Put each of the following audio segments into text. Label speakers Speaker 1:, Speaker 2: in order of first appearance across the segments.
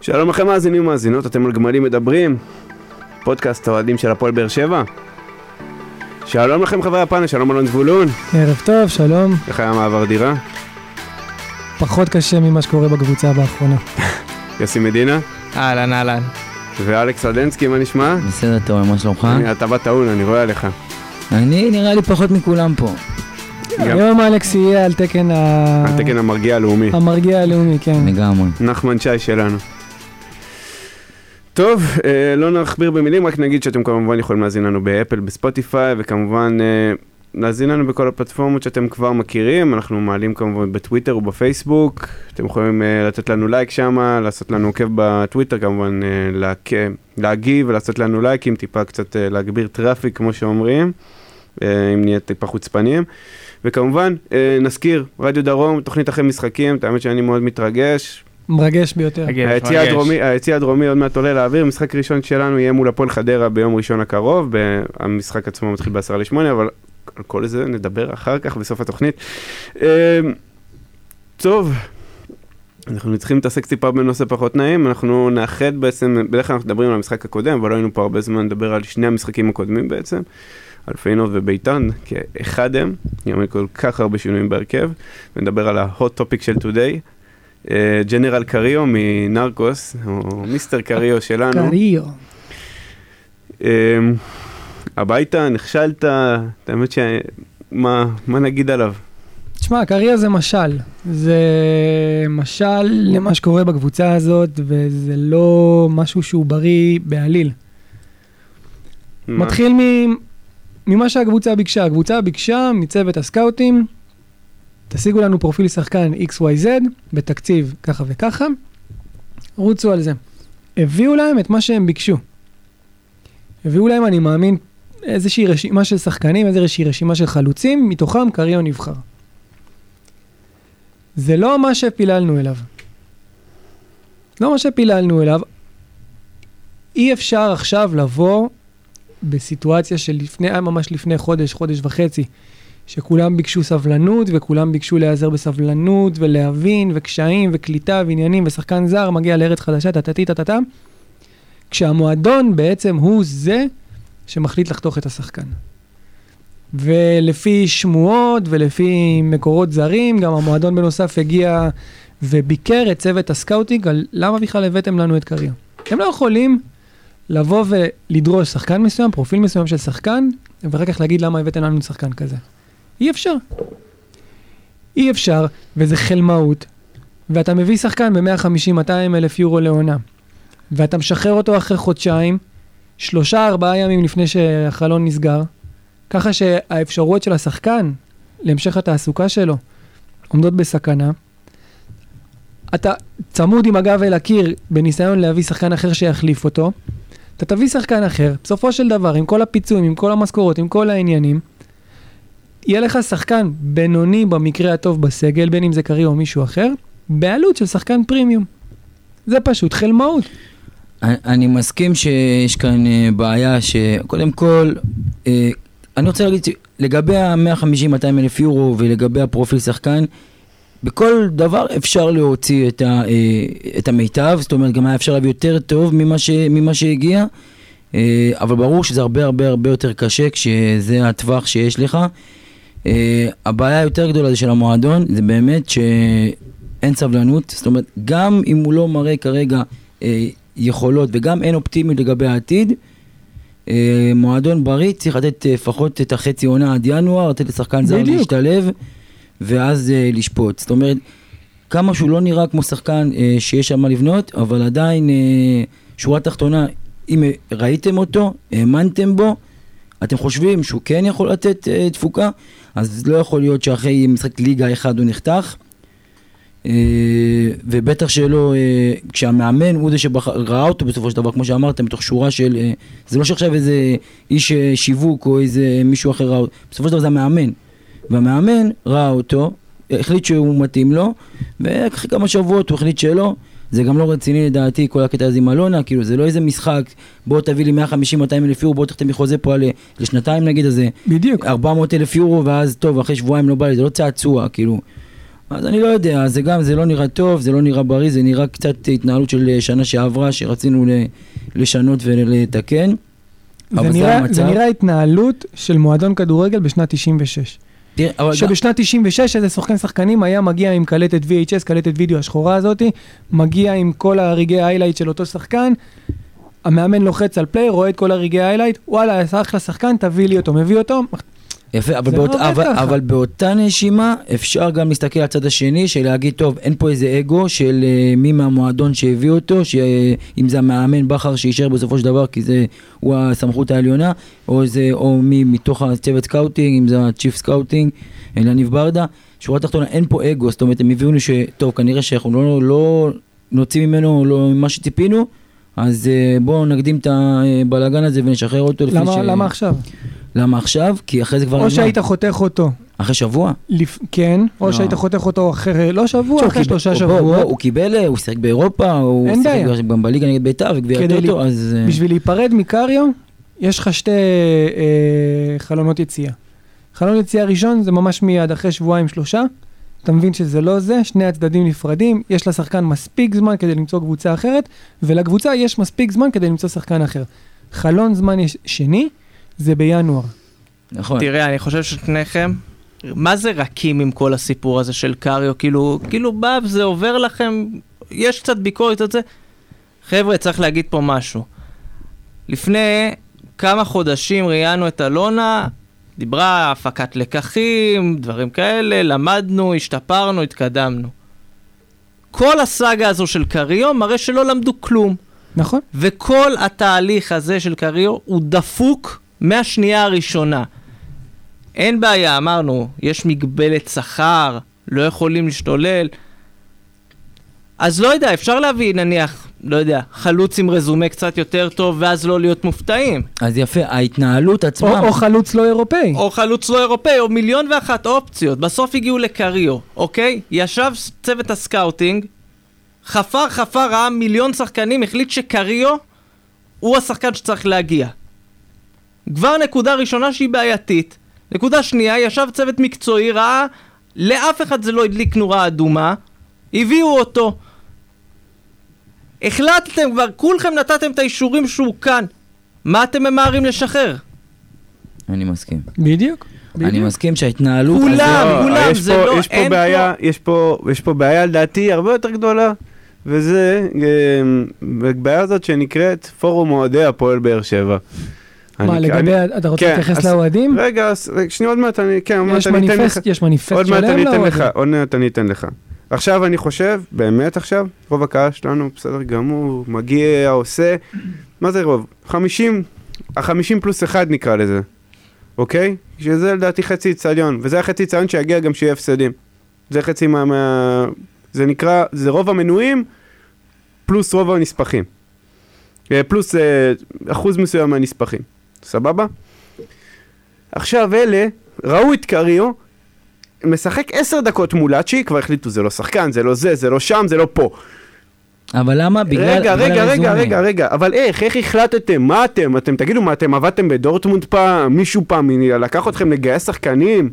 Speaker 1: שלום לכם מאזינים ומאזינות, אתם על גמלים מדברים, פודקאסט האוהדים של הפועל באר שבע. שלום לכם חברי הפאנל, שלום אלון זבולון,
Speaker 2: ערב טוב, שלום.
Speaker 1: איך היה מעבר דירה?
Speaker 2: פחות קשה ממה שקורה בקבוצה באחרונה.
Speaker 1: יוסי מדינה
Speaker 3: אהלן, אהלן.
Speaker 1: ואלכס רדנסקי, מה נשמע?
Speaker 4: בסדר, תומר, מה שלומך?
Speaker 1: אני- אתה בטעון, אני רואה עליך.
Speaker 4: אני נראה לי פחות מכולם פה.
Speaker 1: גם.
Speaker 2: היום אלכס יהיה על תקן ה-
Speaker 1: על תקן המרגיע הלאומי.
Speaker 2: המרגיע הלאומי, כן.
Speaker 4: לגמרי.
Speaker 1: נחמן שי שלנו. טוב, אה, לא נכביר במילים, רק נגיד שאתם כמובן יכולים להזין לנו באפל, בספוטיפיי, וכמובן אה, להזין לנו בכל הפלטפורמות שאתם כבר מכירים, אנחנו מעלים כמובן בטוויטר ובפייסבוק, אתם יכולים אה, לתת לנו לייק שם, לעשות לנו עוקב בטוויטר, כמובן אה, להק... להגיב ולעשות לנו לייקים, טיפה קצת אה, להגביר טראפיק, כמו שאומרים, אה, אם נהיה טיפה חוצפנים. וכמובן, אה, נזכיר, רדיו דרום, תוכנית אחרי משחקים, את האמת שאני מאוד מתרגש,
Speaker 2: מרגש ביותר.
Speaker 1: היציע אה, הדרומי, היציע הדרומי עוד מעט עולה לאוויר, משחק ראשון שלנו יהיה מול הפועל חדרה ביום ראשון הקרוב, ב- המשחק עצמו מתחיל ב-10 ל-8, אבל על כל זה נדבר אחר כך בסוף התוכנית. אמ, טוב, אנחנו צריכים להתעסק טיפה בנושא פחות נעים, אנחנו נאחד בעצם, בדרך כלל אנחנו מדברים על המשחק הקודם, אבל לא היינו פה הרבה זמן לדבר על שני המשחקים הקודמים בעצם, על פיינוב וביתן, כאחד הם, עם כל כך הרבה שינויים בהרכב, ונדבר על ה-hot topic של today. אה, ג'נרל קריו מנרקוס, או מיסטר קריו שלנו.
Speaker 2: קריו.
Speaker 1: אמ, הביתה, נכשלת, את האמת ש... מה, מה נגיד עליו?
Speaker 2: תשמע, קריו זה משל. זה משל למה שקורה בקבוצה הזאת, וזה לא משהו שהוא בריא בעליל.
Speaker 1: מה?
Speaker 2: מתחיל מ- ממה שהקבוצה ביקשה. הקבוצה ביקשה מצוות הסקאוטים, תשיגו לנו פרופיל שחקן XYZ בתקציב ככה וככה, רוצו על זה. הביאו להם את מה שהם ביקשו. הביאו להם, אני מאמין, איזושהי רשימה של שחקנים, איזושהי רשימה של חלוצים, מתוכם קריו נבחר. זה לא מה שפיללנו אליו. לא מה שפיללנו אליו. אי אפשר עכשיו לבוא בסיטואציה של לפני, היה ממש לפני חודש, חודש וחצי, שכולם ביקשו סבלנות, וכולם ביקשו להיעזר בסבלנות, ולהבין, וקשיים, וקליטה, ועניינים, ושחקן זר מגיע לארץ חדשה, טטטי טטטה, כשהמועדון בעצם הוא זה שמחליט לחתוך את השחקן. ולפי שמועות ולפי מקורות זרים, גם המועדון בנוסף הגיע וביקר את צוות הסקאוטינג על למה בכלל הבאתם לנו את קריו. הם לא יכולים לבוא ולדרוש שחקן מסוים, פרופיל מסוים של שחקן, ואחר כך להגיד למה הבאתם לנו שחקן כזה. אי אפשר. אי אפשר, וזה חלמאות. ואתה מביא שחקן ב-150-200 אלף יורו לעונה, ואתה משחרר אותו אחרי חודשיים, שלושה ארבעה ימים לפני שהחלון נסגר, ככה שהאפשרויות של השחקן להמשך התעסוקה שלו עומדות בסכנה. אתה צמוד עם הגב אל הקיר בניסיון להביא שחקן אחר שיחליף אותו, אתה תביא שחקן אחר, בסופו של דבר, עם כל הפיצויים, עם כל המשכורות, עם כל העניינים, יהיה לך שחקן בינוני במקרה הטוב בסגל, בין אם זה קרי או מישהו אחר, בעלות של שחקן פרימיום. זה פשוט חלמאות.
Speaker 4: אני- אני מסכים שיש כאן אה, בעיה שקודם כל, אה, אני רוצה להגיד לגבי ה-150-200 אלף יורו ולגבי הפרופיל שחקן, בכל דבר אפשר להוציא את, ה, אה, את המיטב, זאת אומרת גם היה אפשר להביא יותר טוב ממה, ש, ממה שהגיע, אה, אבל ברור שזה הרבה הרבה הרבה יותר קשה כשזה הטווח שיש לך. אה, הבעיה היותר גדולה זה של המועדון, זה באמת שאין סבלנות, זאת אומרת גם אם הוא לא מראה כרגע אה, יכולות וגם אין אופטימיות לגבי העתיד, אה, מועדון בריא צריך לתת אה, לפחות את החצי עונה עד ינואר, לתת לשחקן זר
Speaker 2: בדיוק.
Speaker 4: להשתלב ואז אה, לשפוט. זאת אומרת, כמה שהוא לא נראה כמו שחקן אה, שיש שם מה לבנות, אבל עדיין, אה, שורה תחתונה, אם אה, ראיתם אותו, האמנתם בו, אתם חושבים שהוא כן יכול לתת אה, תפוקה, אז לא יכול להיות שאחרי משחק ליגה אחד הוא נחתך. אה, ובטח שלא, אה, כשהמאמן הוא זה שראה אותו בסופו של דבר, כמו שאמרתם, בתוך שורה של... אה, זה לא שעכשיו איזה איש אה, שיווק או איזה מישהו אחר ראה אותו, בסופו של דבר זה המאמן. והמאמן ראה אותו, החליט שהוא מתאים לו, ואחרי כמה שבועות הוא החליט שלא. זה גם לא רציני לדעתי, כל הקטע הזה עם אלונה, כאילו זה לא איזה משחק, בוא תביא לי 150-200 אלף יורו, בוא תחתים לי חוזה פה על- לשנתיים נגיד, אז זה
Speaker 2: בדיוק.
Speaker 4: 400 אלף יורו, ואז טוב, אחרי שבועיים לא בא לי, זה לא צעצוע, כאילו. אז אני לא יודע, זה גם, זה לא נראה טוב, זה לא נראה בריא, זה נראה קצת התנהלות של אה, שנה שעברה, שרצינו ל- לשנות ולתקן.
Speaker 2: זה
Speaker 4: אבל זה
Speaker 2: נראה-
Speaker 4: המצב.
Speaker 2: זה נראה התנהלות של מועדון כדורגל בשנת 96.
Speaker 4: תראה, אבל גם-
Speaker 2: שבשנת 96 איזה סוכן שחקנים היה מגיע עם קלטת VHS, קלטת וידאו השחורה הזאתי, מגיע עם כל הרגעי היילייט של אותו שחקן, המאמן לוחץ על פליי, רואה את כל הרגעי היילייט, וואלה, אז אחלה שחקן, תביא לי אותו, מביא אותו.
Speaker 4: יפה, אבל,
Speaker 2: זה
Speaker 4: באות,
Speaker 2: לא עובד
Speaker 4: אבל,
Speaker 2: ככה.
Speaker 4: אבל באותה נשימה אפשר גם להסתכל על הצד השני של להגיד, טוב, אין פה איזה אגו של אה, מי מהמועדון שהביא אותו, שאם זה המאמן בכר שאישר בסופו של דבר, כי זה, הוא הסמכות העליונה, או, זה, או מי מתוך הצוות סקאוטינג, אם זה הצ'יפ סקאוטינג, אה, יניב ברדה, שורה תחתונה, אין פה אגו, זאת אומרת, הם הביאו לנו ש... טוב, כנראה שאנחנו לא, לא נוציא ממנו לא מה שציפינו, אז אה, בואו נקדים את הבלאגן הזה ונשחרר אותו לפני
Speaker 2: למה,
Speaker 4: ש...
Speaker 2: למה עכשיו?
Speaker 4: למה עכשיו? כי אחרי זה כבר...
Speaker 2: או
Speaker 4: נגמר.
Speaker 2: שהיית חותך אותו,
Speaker 4: אחרי שבוע.
Speaker 2: לפ... כן, או
Speaker 4: לא.
Speaker 2: שהיית חותך אותו אחרי, לא שבוע,
Speaker 4: הוא
Speaker 2: אחרי
Speaker 4: קיבל-
Speaker 2: שלושה
Speaker 4: הוא- בוא, בוא,
Speaker 2: שבועות,
Speaker 4: הוא קיבל, אה, הוא שיחק באירופה, הוא
Speaker 2: אין
Speaker 4: שיחק
Speaker 2: בעיה.
Speaker 4: גם בליגה נגד ביתר וגביע
Speaker 2: כדי
Speaker 4: הטוטו, אז... אה,
Speaker 2: בשביל להיפרד מקריו, יש לך שתי אה, חלונות יציאה. חלון יציאה ראשון זה ממש מיד אחרי שבועיים שלושה, אתה מבין שזה לא זה, שני הצדדים נפרדים, יש לשחקן מספיק זמן כדי למצוא קבוצה אחרת, ולקבוצה יש מספיק זמן כדי למצוא שחקן אחר. חלון זמן יש- שני, זה בינואר.
Speaker 4: נכון.
Speaker 3: תראה, אני חושב ששניכם, מה זה רכים עם כל הסיפור הזה של קריו? כאילו, כאילו בא, זה עובר לכם, יש קצת ביקורת על זה. חבר'ה, צריך להגיד פה משהו. לפני כמה חודשים ראיינו את אלונה, דיברה הפקת לקחים, דברים כאלה, למדנו, השתפרנו, התקדמנו. כל הסאגה הזו של קריו מראה שלא למדו כלום.
Speaker 2: נכון?
Speaker 3: וכל התהליך הזה של קריו הוא דפוק מהשנייה הראשונה. אין בעיה, אמרנו, יש מגבלת שכר, לא יכולים להשתולל. אז לא יודע, אפשר להביא, נניח, לא יודע, חלוץ עם רזומה קצת יותר טוב, ואז לא להיות מופתעים.
Speaker 4: אז יפה, ההתנהלות
Speaker 2: או,
Speaker 4: עצמה...
Speaker 2: או חלוץ לא אירופאי.
Speaker 3: או חלוץ לא אירופאי, או מיליון ואחת אופציות. בסוף הגיעו לקריו, אוקיי? ישב ס- צוות הסקאוטינג, חפר חפר ראה מיליון שחקנים, החליט שקריו הוא השחקן שצריך להגיע. כבר נקודה ראשונה שהיא בעייתית. נקודה שנייה, ישב צוות מקצועי, ראה, לאף אחד זה לא הדליק נורה אדומה, הביאו אותו. החלטתם כבר, כולכם נתתם את האישורים שהוא כאן. מה אתם ממהרים לשחרר?
Speaker 4: אני מסכים.
Speaker 2: בדיוק.
Speaker 4: אני
Speaker 2: בדיוק.
Speaker 4: מסכים שההתנהלות...
Speaker 3: כולם,
Speaker 4: הזו-
Speaker 3: כולם,
Speaker 1: יש
Speaker 3: לא, זה
Speaker 1: פה-
Speaker 3: לא-
Speaker 1: יש פה
Speaker 3: אין
Speaker 1: בעיה, יש פה, יש פה בעיה לדעתי הרבה יותר גדולה, וזה, אה, הבעיה הזאת שנקראת פורום אוהדי הפועל באר שבע.
Speaker 2: מה,
Speaker 1: אני-
Speaker 2: לגבי,
Speaker 1: אני-
Speaker 2: אתה רוצה
Speaker 1: כן,
Speaker 2: להתייחס
Speaker 1: אז-
Speaker 2: לאוהדים?
Speaker 1: רגע, אז- רגע, שנייה, עוד מעט אני, כן, עוד מעט
Speaker 2: יש
Speaker 1: אני אתן לך.
Speaker 2: מניפסט, יש מניפסט
Speaker 1: עוד מעט
Speaker 2: שלם
Speaker 1: אני אתן לך,
Speaker 2: לאוהדים.
Speaker 1: עוד מעט אני אתן לך. עכשיו אני חושב, באמת עכשיו, רוב הקהל שלנו בסדר גמור, מגיע, עושה, מה זה רוב? 50, ה-50 פלוס 1 נקרא לזה, אוקיי? שזה לדעתי חצי אצטדיון, וזה החצי אצטדיון שיגיע גם שיהיה הפסדים. זה חצי מה... מה... זה נקרא, זה רוב המנויים פלוס רוב הנספחים. אה, פלוס אה, אחוז מסוים מהנספחים, סבבה? עכשיו אלה ראו את קריו משחק עשר דקות מולאצ'י, כבר החליטו זה לא שחקן, זה לא זה, זה לא שם, זה לא פה.
Speaker 4: אבל למה? בגלל...
Speaker 1: רגע,
Speaker 4: בגלל
Speaker 1: רגע, רגע,
Speaker 4: הרזומה.
Speaker 1: רגע, רגע, אבל איך, איך החלטתם? מה אתם? אתם תגידו, מה אתם עבדתם בדורטמונד פעם? מישהו פעם לקח אתכם לגייס שחקנים?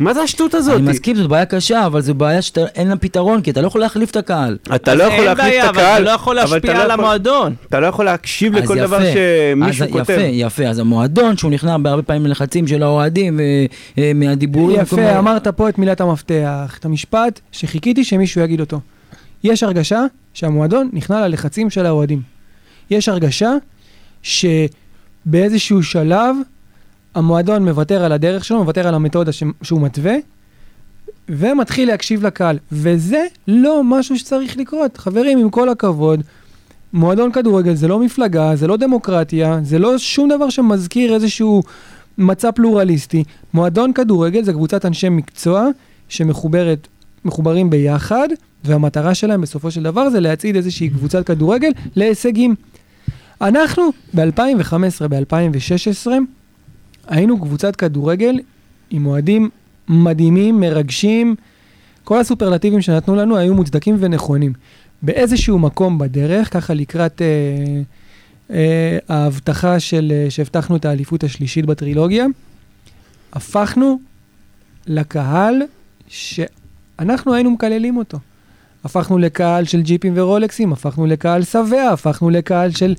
Speaker 1: מה זה השטות הזאת?
Speaker 4: אני מסכים, זו בעיה קשה, אבל זו בעיה שאין לה פתרון, כי אתה לא יכול להחליף את הקהל.
Speaker 1: אתה לא
Speaker 3: אז
Speaker 1: יכול
Speaker 3: אין
Speaker 1: להחליף
Speaker 3: בעיה,
Speaker 1: את הקהל,
Speaker 3: אבל אתה לא יכול
Speaker 1: אבל אתה
Speaker 3: להשפיע
Speaker 1: לא
Speaker 3: על
Speaker 1: יכול-
Speaker 3: המועדון.
Speaker 1: אתה לא יכול להקשיב
Speaker 4: אז
Speaker 1: לכל דבר
Speaker 4: יפה.
Speaker 1: שמישהו
Speaker 4: אז
Speaker 1: כותב.
Speaker 4: יפה, יפה, אז המועדון שהוא נכנע בהרבה פעמים לחצים של האוהדים, אה, אה, מהדיבורים. כל
Speaker 2: יפה,
Speaker 4: מיני-
Speaker 2: אמרת פה את מילת המפתח, את המשפט שחיכיתי שמישהו יגיד אותו. יש הרגשה שהמועדון נכנע ללחצים של האוהדים. יש הרגשה שבאיזשהו שלב המועדון מוותר על הדרך שלו, מוותר על המתודה ש- שהוא מתווה, ומתחיל להקשיב לקהל. וזה לא משהו שצריך לקרות. חברים, עם כל הכבוד, מועדון כדורגל זה לא מפלגה, זה לא דמוקרטיה, זה לא שום דבר שמזכיר איזשהו מצע פלורליסטי. מועדון כדורגל זה קבוצת אנשי מקצוע שמחוברת, מחוברים ביחד, והמטרה שלהם בסופו של דבר זה להצעיד איזושהי קבוצת כדורגל להישגים. אנחנו ב-2015, ב-2016, היינו קבוצת כדורגל עם אוהדים מדהימים, מרגשים. כל הסופרלטיבים שנתנו לנו היו מוצדקים ונכונים. באיזשהו מקום בדרך, ככה לקראת אה, אה, ההבטחה של, אה, שהבטחנו את האליפות השלישית בטרילוגיה, הפכנו לקהל ש... אנחנו היינו מקללים אותו. הפכנו לקהל של ג'יפים ורולקסים, הפכנו לקהל שבע, הפכנו לקהל של...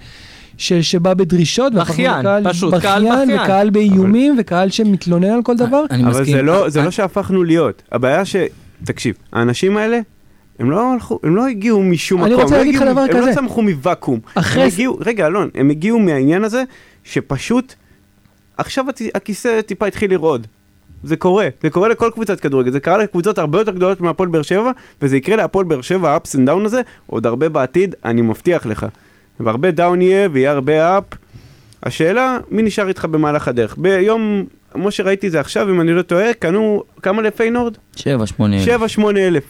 Speaker 2: ש, שבא בדרישות, והפכנו
Speaker 3: בכיין,
Speaker 2: לקהל-
Speaker 3: פשוט, קהל בכיין.
Speaker 2: וקהל באיומים, וקהל שמתלונן על כל דבר.
Speaker 4: אני
Speaker 1: אבל
Speaker 4: מסכים.
Speaker 1: זה לא, זה
Speaker 4: אני-
Speaker 1: לא שהפכנו להיות. הבעיה ש... תקשיב, האנשים האלה, הם לא הלכו, הם לא הגיעו משום
Speaker 2: אני
Speaker 1: מקום.
Speaker 2: רוצה
Speaker 1: הם
Speaker 2: להגיד לך
Speaker 1: הגיעו-
Speaker 2: דבר
Speaker 1: הם
Speaker 2: כזה.
Speaker 1: לא צמחו מוואקום.
Speaker 2: אחרי
Speaker 1: הם
Speaker 2: ס-
Speaker 1: הגיעו, רגע, אלון, הם הגיעו מהעניין הזה, שפשוט, עכשיו הת- הכיסא טיפה התחיל לרעוד. זה קורה, זה קורה לכל קבוצת כדורגל, זה קרה לקבוצות הרבה יותר גדולות מהפועל באר שבע, וזה יקרה להפועל באר שבע, ה-ups and down הזה, עוד הרבה בעתיד, אני מבטיח לך. והרבה דאון יהיה, ויהיה הרבה up. השאלה, מי נשאר איתך במהלך הדרך? ביום, כמו שראיתי זה עכשיו, אם אני לא טועה, קנו כמה לפיינורד?
Speaker 4: שבע, שמונה.
Speaker 1: 7-8 אלף.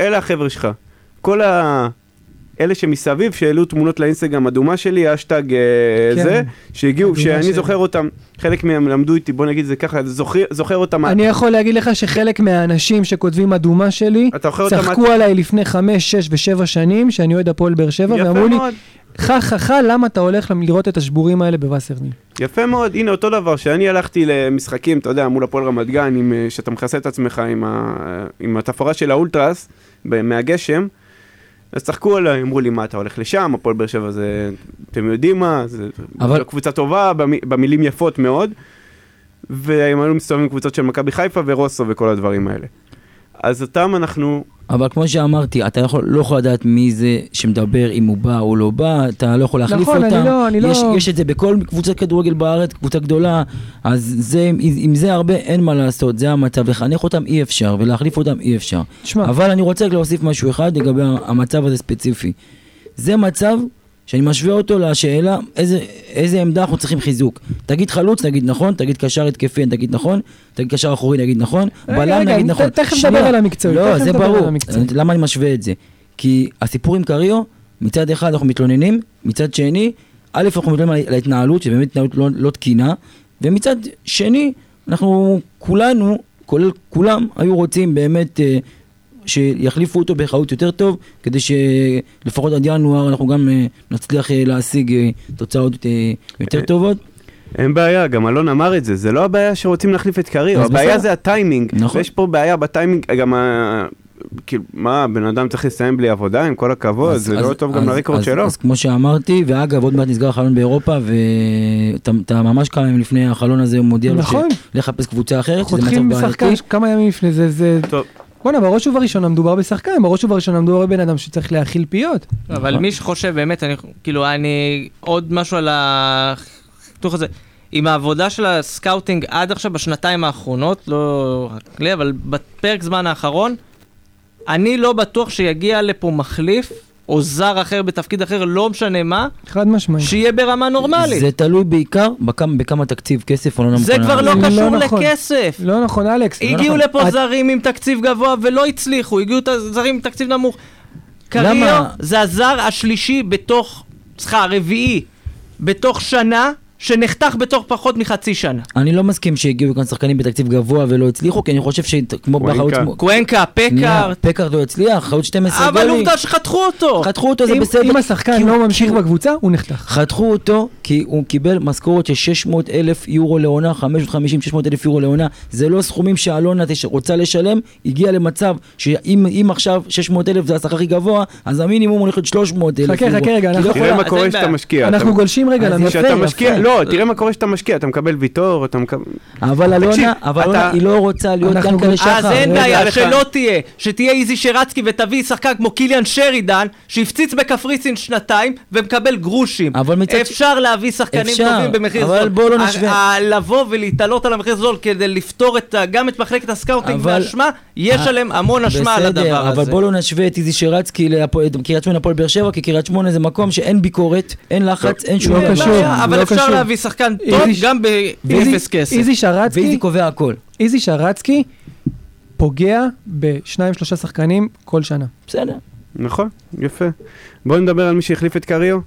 Speaker 1: אלה החבר'ה שלך. כל ה... אלה שמסביב, שהעלו תמונות לאינסטגרם אדומה שלי, אשטג
Speaker 2: כן.
Speaker 1: כן. זה, שהגיעו,
Speaker 2: אדומה
Speaker 1: שאני
Speaker 2: שלי.
Speaker 1: זוכר אותם, חלק מהם למדו איתי, בוא נגיד את זה ככה, זוכר, זוכר אותם,
Speaker 2: אני יכול להגיד לך שחלק מהאנשים שכותבים אדומה שלי,
Speaker 1: אתה זוכר אותם,
Speaker 2: צחקו עליי לפני חמש, שש ושבע שנים, שאני אוהד הפועל באר שבע, ואמרו
Speaker 1: יפה
Speaker 2: לי,
Speaker 1: מאוד,
Speaker 2: חה חה חה, למה אתה הולך לראות את השבורים האלה בווסרניל?
Speaker 1: יפה מאוד, הנה אותו דבר, שאני הלכתי למשחקים, אתה יודע, מול הפועל רמת גן, עם, אה, שאתה מכסה את עצמך עם, ה... אה, עם התפאורה של האולטרס, ב- מהגשם, אז צחקו עליי, אמרו לי, מה אתה הולך לשם, הפועל באר שבע זה, אתם יודעים מה, זה
Speaker 4: אבל-
Speaker 1: אבל... קבוצה טובה, במי... במילים יפות מאוד, והם היו מסתובבים עם קבוצות של מכבי חיפה ורוסו וכל הדברים האלה. אז אותם אנחנו,
Speaker 4: אבל כמו שאמרתי, אתה יכול, לא יכול לדעת מי זה שמדבר, אם הוא בא או לא בא, אתה לא יכול להחליף
Speaker 2: נכון,
Speaker 4: אותם.
Speaker 2: אני לא- אני לא-
Speaker 4: יש, יש את זה בכל קבוצת כדורגל בארץ, קבוצה גדולה, אז זה, עם, עם זה הרבה אין מה לעשות, זה המצב. לחנך אותם אי אפשר, ולהחליף אותם אי אפשר.
Speaker 2: תשמע,
Speaker 4: אבל אני רוצה רק להוסיף משהו אחד לגבי המצב הזה ספציפי. זה מצב שאני משווה אותו לשאלה איזה, איזה עמדה אנחנו צריכים חיזוק. תגיד חלוץ, נגיד נכון, תגיד קשר התקפי, נגיד נכון, תגיד קשר אחורי, נגיד נכון,
Speaker 2: רגע,
Speaker 4: בלם,
Speaker 2: רגע,
Speaker 4: נגיד
Speaker 2: ת-
Speaker 4: נכון.
Speaker 2: תכף
Speaker 4: שנייה.
Speaker 2: נדבר על המקצועי,
Speaker 4: לא,
Speaker 2: תכף
Speaker 4: זה
Speaker 2: נדבר על
Speaker 4: ברור.
Speaker 2: המקצועי.
Speaker 4: אני- למה אני משווה את זה? כי הסיפור עם קריו, מצד אחד אנחנו מתלוננים, מצד שני, א', אנחנו מתלוננים על- על ההתנהלות, שבאמת התנהלות לא, לא תקינה, ומצד שני, אנחנו כולנו, כולל כולם, היו רוצים באמת אה, שיחליפו אותו בחאות יותר טוב, כדי שלפחות עד ינואר אנחנו גם אה, נצליח אה, להשיג אה, תוצאות אה, יותר
Speaker 1: אה,
Speaker 4: טובות.
Speaker 1: אין בעיה, גם אלון אמר את זה, זה לא הבעיה שרוצים להחליף את קריו,
Speaker 4: אז
Speaker 1: הבעיה
Speaker 4: בסדר.
Speaker 1: זה הטיימינג.
Speaker 4: נכון.
Speaker 1: יש פה בעיה בטיימינג, גם ה... כאילו, מה, בן אדם צריך לסיים בלי עבודה, עם כל הכבוד, זה לא טוב גם לרקורד
Speaker 4: אז,
Speaker 1: שלו.
Speaker 4: אז כמו שאמרתי, ואגב, עוד מעט נסגר החלון באירופה, ואתה ממש כמה ימים לפני החלון הזה, הוא מודיע לו
Speaker 2: נכון.
Speaker 4: שלחפש קבוצה אחרת, שזה
Speaker 2: חותכים
Speaker 4: מצב
Speaker 2: שחקן
Speaker 4: בעייתי.
Speaker 2: ש- כמה ימים לפני זה, זה...
Speaker 1: טוב.
Speaker 2: בואנה, בראש ובראשונה מדובר בשחקן, בראש ובראשונה מדובר בבן אדם שצריך להאכיל פיות.
Speaker 3: אבל
Speaker 1: נכון.
Speaker 3: מי שחושב באמת, אני, כאילו, אני, עוד משהו על החיתוך הזה. עם העבודה של הסקאוטינג עד עכשיו, בשנתיים האחרונות, לא רק לי, אבל בפרק זמן האחרון, אני לא בטוח שיגיע לפה מחליף, או זר אחר בתפקיד אחר, לא משנה מה,
Speaker 2: חד משמעית.
Speaker 3: שיהיה ברמה נורמלית.
Speaker 4: זה תלוי בעיקר בכמה, בכמה תקציב, כסף או לא
Speaker 3: זה כבר לא
Speaker 2: לא
Speaker 3: קשור
Speaker 2: נכון.
Speaker 3: לכסף.
Speaker 2: לא נכון, אלכס.
Speaker 3: הגיעו
Speaker 2: לא
Speaker 3: לפה
Speaker 2: נכון.
Speaker 3: זרים עם תקציב גבוה ולא הצליחו, הגיעו ת- זרים עם תקציב נמוך. קריו
Speaker 4: למה?
Speaker 3: זה הזר השלישי בתוך, סליחה, הרביעי, בתוך שנה, שנחתך בתוך פחות מחצי שנה.
Speaker 4: אני לא מסכים שהגיעו כאן שחקנים בתקציב גבוה ולא הצליחו, כי אני חושב שכמו
Speaker 1: וואי,
Speaker 4: בחלוץ...
Speaker 1: כאן.
Speaker 4: כמו-
Speaker 3: קוונקה,
Speaker 4: שנייה,
Speaker 3: פקארט,
Speaker 4: פקארט לא הצליח, חלוץ 12
Speaker 3: אבל
Speaker 4: גולים.
Speaker 3: עובדה שחתכו אותו.
Speaker 4: חתכו אותו, זה
Speaker 2: אם-
Speaker 4: בסדר.
Speaker 2: אם השחקן
Speaker 4: כי הוא-
Speaker 2: לא ממשיך
Speaker 4: כי הוא-
Speaker 2: בקבוצה, הוא נחתך.
Speaker 4: חתכו אותו כי הוא קיבל משכורת של 600 אלף יורו לעונה, 550-600 אלף יורו לעונה. זה לא סכומים שאלונה תש- רוצה לשלם, הגיע למצב שאם אם עכשיו 600 אלף זה השכר הכי גבוה, אז המינימום הולך להיות 300 אלף
Speaker 2: חכה, חכה רגע,
Speaker 4: לא
Speaker 2: אנחנו-
Speaker 1: תראה מה
Speaker 3: לא, אז
Speaker 1: קורה
Speaker 3: אין
Speaker 1: שאתה
Speaker 3: בעיה.
Speaker 1: משקיע.
Speaker 2: אנחנו
Speaker 1: אתה-
Speaker 2: גולשים רגע
Speaker 4: אז
Speaker 2: לנו.
Speaker 1: כשאתה
Speaker 4: יפה,
Speaker 1: משקיע,
Speaker 4: יפה.
Speaker 1: לא, תראה מה קורה שאתה משקיע, אתה מקבל ויטור, אתה מקבל...
Speaker 4: אבל אלונה,
Speaker 1: תקשיב,
Speaker 4: אבל
Speaker 1: אתה-
Speaker 4: אלונה, היא לא רוצה להיות
Speaker 2: אנחנו
Speaker 4: כאן כאלה
Speaker 2: גולשים.
Speaker 4: שחר.
Speaker 3: אז אין
Speaker 4: רגע.
Speaker 3: בעיה,
Speaker 1: לך.
Speaker 3: שלא תהיה. שתהיה איזי שרצקי ותביא שחקן כמו קיליאן שרידן, שהפציץ בקפריסין שנתיים ומקבל גרושים.
Speaker 4: אבל מצד ש-
Speaker 3: אפשר להביא שחקנים
Speaker 4: אפשר,
Speaker 3: טובים במחיר זול.
Speaker 4: אבל בוא לא
Speaker 3: ה-
Speaker 4: נשווה.
Speaker 3: ה- לבוא ולהתעלות על המחיר זול כדי לפתור את ה- גם את מחלקת הסקאוטינג
Speaker 4: אבל-
Speaker 3: באשמה, יש
Speaker 4: אה,
Speaker 3: עליהם המון אשמה לא על הדבר
Speaker 4: בסדר,
Speaker 3: הזה.
Speaker 4: אבל בוא לא נשווה את איזי שרצקי להפועל- את קריית שמונה הפועל באר שבע, כי קריית שמונה זה מקום שאין ביקורת, אין לחץ, אין שום
Speaker 2: לא
Speaker 4: דבר.
Speaker 3: אין
Speaker 2: קשור,
Speaker 3: בעיה, אבל
Speaker 2: לא
Speaker 3: אפשר
Speaker 2: קשור.
Speaker 3: להביא שחקן טוב
Speaker 2: איזי-
Speaker 3: גם
Speaker 2: איזי-
Speaker 3: באפס כסף.
Speaker 2: איזי
Speaker 4: ואיזי
Speaker 2: שרצקי,
Speaker 4: קובע הכל.
Speaker 2: איזי שרצקי פוגע בשניים שלושה שחקנים כל שנה.
Speaker 4: בסדר.
Speaker 1: נכון, יפה. בוא נדבר על מי שהחליף את קריו.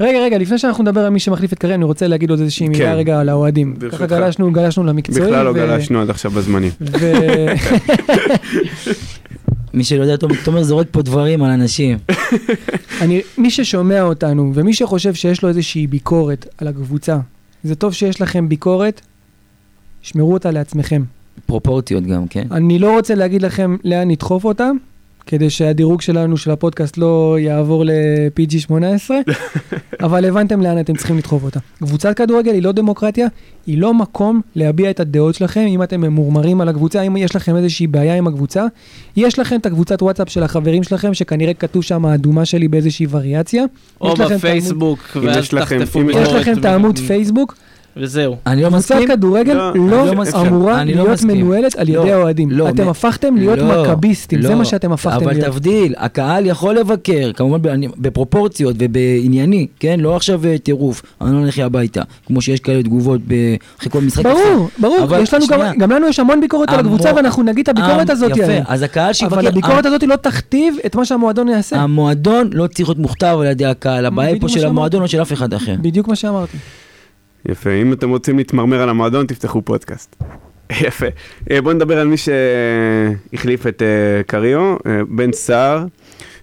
Speaker 2: רגע, רגע, לפני שאנחנו נדבר על מי שמחליף את קרן, אני רוצה להגיד עוד איזושהי מילה
Speaker 1: כן.
Speaker 2: רגע על האוהדים.
Speaker 1: ברשותך.
Speaker 2: ככה גלשנו, גלשנו למקצועי.
Speaker 1: בכלל לא
Speaker 2: ו-
Speaker 1: גלשנו עד עכשיו בזמנים.
Speaker 2: ו-
Speaker 4: מי שלא יודע, תומר- תומר זורק פה דברים על אנשים.
Speaker 2: אני, מי ששומע אותנו ומי שחושב שיש לו איזושהי ביקורת על הקבוצה, זה טוב שיש לכם ביקורת, שמרו אותה לעצמכם.
Speaker 4: פרופורציות גם, כן?
Speaker 2: אני לא רוצה להגיד לכם לאן נדחוף אותה, כדי שהדירוג שלנו, של הפודקאסט, לא יעבור ל-PG18, אבל הבנתם לאן אתם צריכים לדחוף אותה. קבוצת כדורגל היא לא דמוקרטיה, היא לא מקום להביע את הדעות שלכם, אם אתם ממורמרים על הקבוצה, אם יש לכם איזושהי בעיה עם הקבוצה. יש לכם את הקבוצת וואטסאפ של החברים שלכם, שכנראה כתוב שם האדומה שלי באיזושהי וריאציה. יש
Speaker 3: או
Speaker 2: לכם את העמוד-
Speaker 3: בפייסבוק,
Speaker 1: אם
Speaker 3: ואז
Speaker 1: יש לכם-
Speaker 3: תחטפו
Speaker 1: אם
Speaker 2: יש
Speaker 3: ביקורת
Speaker 2: לכם את העמוד
Speaker 3: ו-
Speaker 2: פייסבוק,
Speaker 3: וזהו.
Speaker 4: אני לא
Speaker 2: קבוצת
Speaker 4: מסכים.
Speaker 2: כדורגל
Speaker 1: לא,
Speaker 2: לא
Speaker 1: אני לא מסכים.
Speaker 2: אמורה
Speaker 4: אני לא
Speaker 2: להיות
Speaker 4: מסכים.
Speaker 2: מנוהלת על ידי
Speaker 4: לא,
Speaker 2: האוהדים.
Speaker 4: לא,
Speaker 2: אתם
Speaker 4: מ-
Speaker 2: הפכתם להיות
Speaker 4: לא,
Speaker 2: מכביסטים, זה
Speaker 4: לא.
Speaker 2: מה שאתם הפכתם
Speaker 4: אבל
Speaker 2: להיות.
Speaker 4: תבדיל, הקהל יכול לבקר, כמובן ב- אני- בפרופורציות ובענייני, כן? לא עכשיו אה, טירוף, אני לא נלך הביתה, כמו שיש כאלה תגובות ב- אחרי כל משחק.
Speaker 2: ברור, ברור,
Speaker 4: אבל
Speaker 2: יש לנו
Speaker 4: שנייה.
Speaker 2: גם, גם לנו יש המון ביקורת על
Speaker 4: המון.
Speaker 2: הקבוצה ואנחנו נגיד את הביקורת
Speaker 4: המ-
Speaker 2: הזאת
Speaker 4: יפה,
Speaker 2: עליהם.
Speaker 4: אז הקהל שיבקר... אה.
Speaker 2: אבל הביקורת הזאת לא תכתיב את מה שהמועדון יעשה.
Speaker 4: המועדון לא צריך להיות מוכתב על ידי הקהל, הבעיה היא
Speaker 2: בדיוק
Speaker 4: פה
Speaker 2: מה
Speaker 4: של
Speaker 2: שאמרתי.
Speaker 4: המועדון או של אף אחד אחר.
Speaker 2: בדיוק מה שאמרתי.
Speaker 1: אה. יפה, אם אתם רוצים להתמרמר על המועדון, תפתחו פודקאסט. יפה. אה, בואו נדבר על מי שהחליף את אה, קריו, אה, בן סער,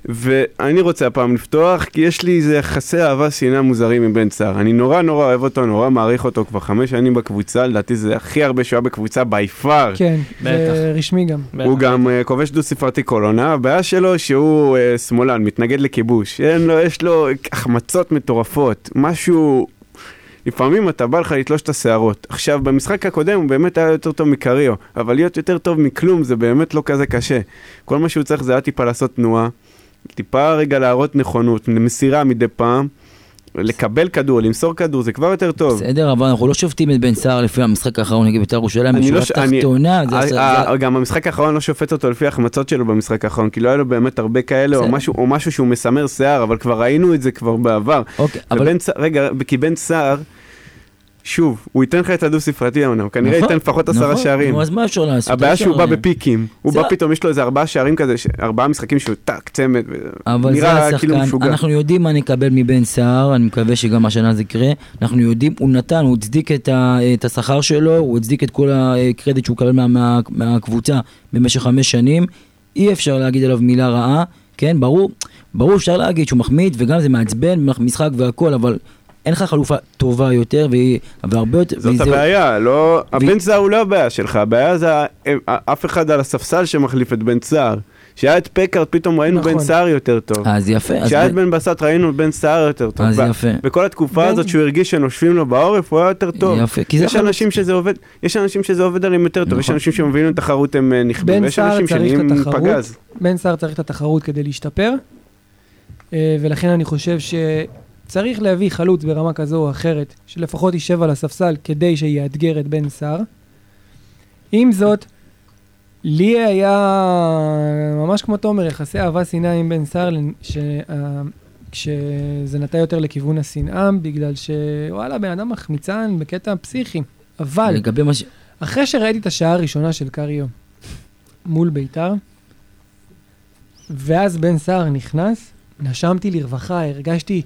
Speaker 1: ואני רוצה הפעם לפתוח, כי יש לי איזה יחסי אהבה שנאה מוזרים עם בן סער. אני נורא נורא אוהב אותו, נורא מעריך אותו, כבר חמש שנים בקבוצה, לדעתי זה הכי הרבה שהוא היה בקבוצה בי פאר.
Speaker 2: כן,
Speaker 3: בטח.
Speaker 2: זה רשמי גם.
Speaker 1: הוא גם אה, כובש דו ספרתי כל עונה, הבעיה שלו שהוא אה, שמאלן, מתנגד לכיבוש. אין לו, יש לו החמצות מטורפות, משהו... לפעמים אתה בא לך לתלוש את השערות. עכשיו, במשחק הקודם הוא באמת היה יותר טוב מקריו, אבל להיות יותר טוב מכלום זה באמת לא כזה קשה. כל מה שהוא צריך זה היה טיפה לעשות תנועה, טיפה רגע להראות נכונות, מסירה מדי פעם, לקבל כדור, למסור כדור, זה כבר יותר טוב.
Speaker 4: בסדר, אבל אנחנו לא שופטים את בן סער לפי המשחק האחרון נגד בית"ר ירושלים,
Speaker 1: אני
Speaker 4: בשורה
Speaker 1: לא ש- אני-
Speaker 4: תחתונה, זה-
Speaker 1: אה,
Speaker 4: זה-
Speaker 1: אה,
Speaker 4: זה-
Speaker 1: גם המשחק האחרון לא שופט אותו לפי ההחמצות שלו במשחק האחרון, כי לא היה לו באמת הרבה כאלה, או
Speaker 4: בסדר.
Speaker 1: משהו- או משהו שהוא מסמר שיער, אבל כבר ראינו את זה כבר בעבר.
Speaker 4: אוקיי, אבל
Speaker 1: ובן סער- רגע, כי בן סער, שוב, הוא ייתן לך את הדו-ספרתי אמנם, הוא כנראה
Speaker 4: נכון,
Speaker 1: ייתן לפחות עשרה
Speaker 4: נכון,
Speaker 1: שערים.
Speaker 4: נו, אז מה אפשר לעשות?
Speaker 1: הבעיה
Speaker 4: אפשר-
Speaker 1: שהוא בא בפיקים, הוא
Speaker 4: זה- לא-
Speaker 1: בא פתאום, יש לו איזה ארבעה שערים כזה, ש- ארבעה משחקים שהוא טאק, צמד, ו-
Speaker 4: אבל זה לא
Speaker 1: נראה כאילו
Speaker 4: השחקן,
Speaker 1: משוגע.
Speaker 4: אנחנו יודעים מה נקבל מבן סער, אני מקווה שגם השנה זה יקרה. אנחנו יודעים, הוא נתן, הוא הצדיק את ה- את השכר שלו, הוא הצדיק את כל הקרדיט שהוא קיבל מה- מה- מהקבוצה במשך חמש שנים. אי אפשר להגיד עליו מילה רעה, כן, ברור, ברור אפשר להגיד שהוא מחמיד, וגם זה מעצבן, משחק והכל, אבל אין לך חלופה טובה יותר, והיא- והרבה יותר...
Speaker 1: זאת
Speaker 4: וזה-
Speaker 1: הבעיה, לא...
Speaker 4: ו-
Speaker 1: הבן סער הוא לא הבעיה שלך, הבעיה זה ה- אה, אף אחד על הספסל שמחליף את בן סער. כשהיה את פקארט פתאום ראינו בן
Speaker 2: נכון.
Speaker 1: סער יותר טוב.
Speaker 4: אז יפה, אז
Speaker 1: כשהיה את בן בסט ראינו את בן סער יותר טוב.
Speaker 4: אז
Speaker 1: ב-
Speaker 4: יפה.
Speaker 1: בכל התקופה
Speaker 2: בן-
Speaker 1: הזאת שהוא הרגיש שנושבים לו בעורף, הוא היה יותר טוב.
Speaker 4: יפה, כי זה
Speaker 1: יש
Speaker 4: חלוץ.
Speaker 1: אנשים שזה עובד, יש אנשים שזה עובד עליהם יותר טוב, יש
Speaker 4: נכון.
Speaker 1: אנשים שמבינים לתחרות הם אה, נכבדים,
Speaker 2: בן
Speaker 1: ויש
Speaker 2: סער
Speaker 1: אנשים
Speaker 2: צריך
Speaker 1: שנהיים
Speaker 2: את התחרות,
Speaker 1: פגז.
Speaker 2: בן סער צריך את התחרות כדי להשתפר, אה, ולכן אני חושב שצריך להביא חלוץ ברמה כזו או אחרת, שלפחות יישב על הספסל כדי שיאתגר את בן סער. עם זאת, לי היה ממש כמו תומר, יחסי אהבה שנאה עם בן סער, ש... אה, כשזה נטע יותר לכיוון השנאה, בגלל שוואלה, בן אדם מחמיצן בקטע פסיכי. אבל
Speaker 4: לגבי מה ש...
Speaker 2: אחרי שראיתי את השעה הראשונה של קריו מול ביתר, ואז בן סער נכנס, נשמתי לרווחה, הרגשתי,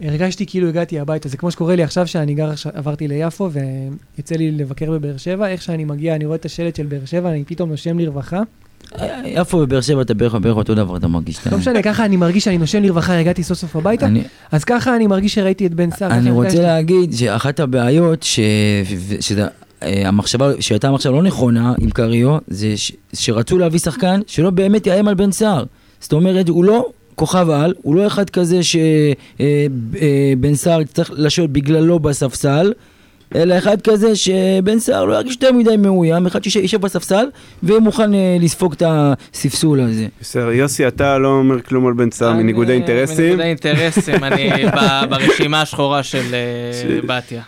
Speaker 2: הרגשתי כאילו הגעתי הביתה. זה כמו שקורה לי עכשיו שאני גר, עכשיו- עברתי ליפו ויצא לי לבקר בבאר שבע, איך שאני מגיע, אני רואה את השלט של באר שבע, אני פתאום נושם לרווחה.
Speaker 4: יפו ובאר שבע אתה בערך בערך אותו דבר, אתה מרגיש. אתה-
Speaker 2: לא משנה, ככה אני מרגיש שאני נושם לרווחה, הגעתי סוף סוף הביתה,
Speaker 4: אני-
Speaker 2: אז ככה אני מרגיש שראיתי את בן סער. ככה
Speaker 4: אני רוצה
Speaker 2: הרגשתי.
Speaker 4: להגיד שאחת הבעיות, ש- ו- שזה... אה, המחשבה, שהייתה מחשבה לא נכונה עם קריו, זה ש, שרצו להביא שחקן שלא באמת יאיים על בן סער. זאת אומרת, הוא לא כוכב על, הוא לא אחד כזה שבן סער יצטרך לשבת בגללו בספסל, אלא אחד כזה שבן סער לא ירגיש יותר מדי מאוים, אחד שיש- שישב בספסל ויהיה מוכן אה, לספוג את הספסול הזה.
Speaker 1: בסדר, יוסי, אתה לא אומר כלום על בן סער
Speaker 3: אני-
Speaker 1: מניגודי אינטרסים,
Speaker 3: אה, מניגודי אינטרסים, אני ב- ברשימה השחורה של אה,
Speaker 1: של-
Speaker 3: בתיה.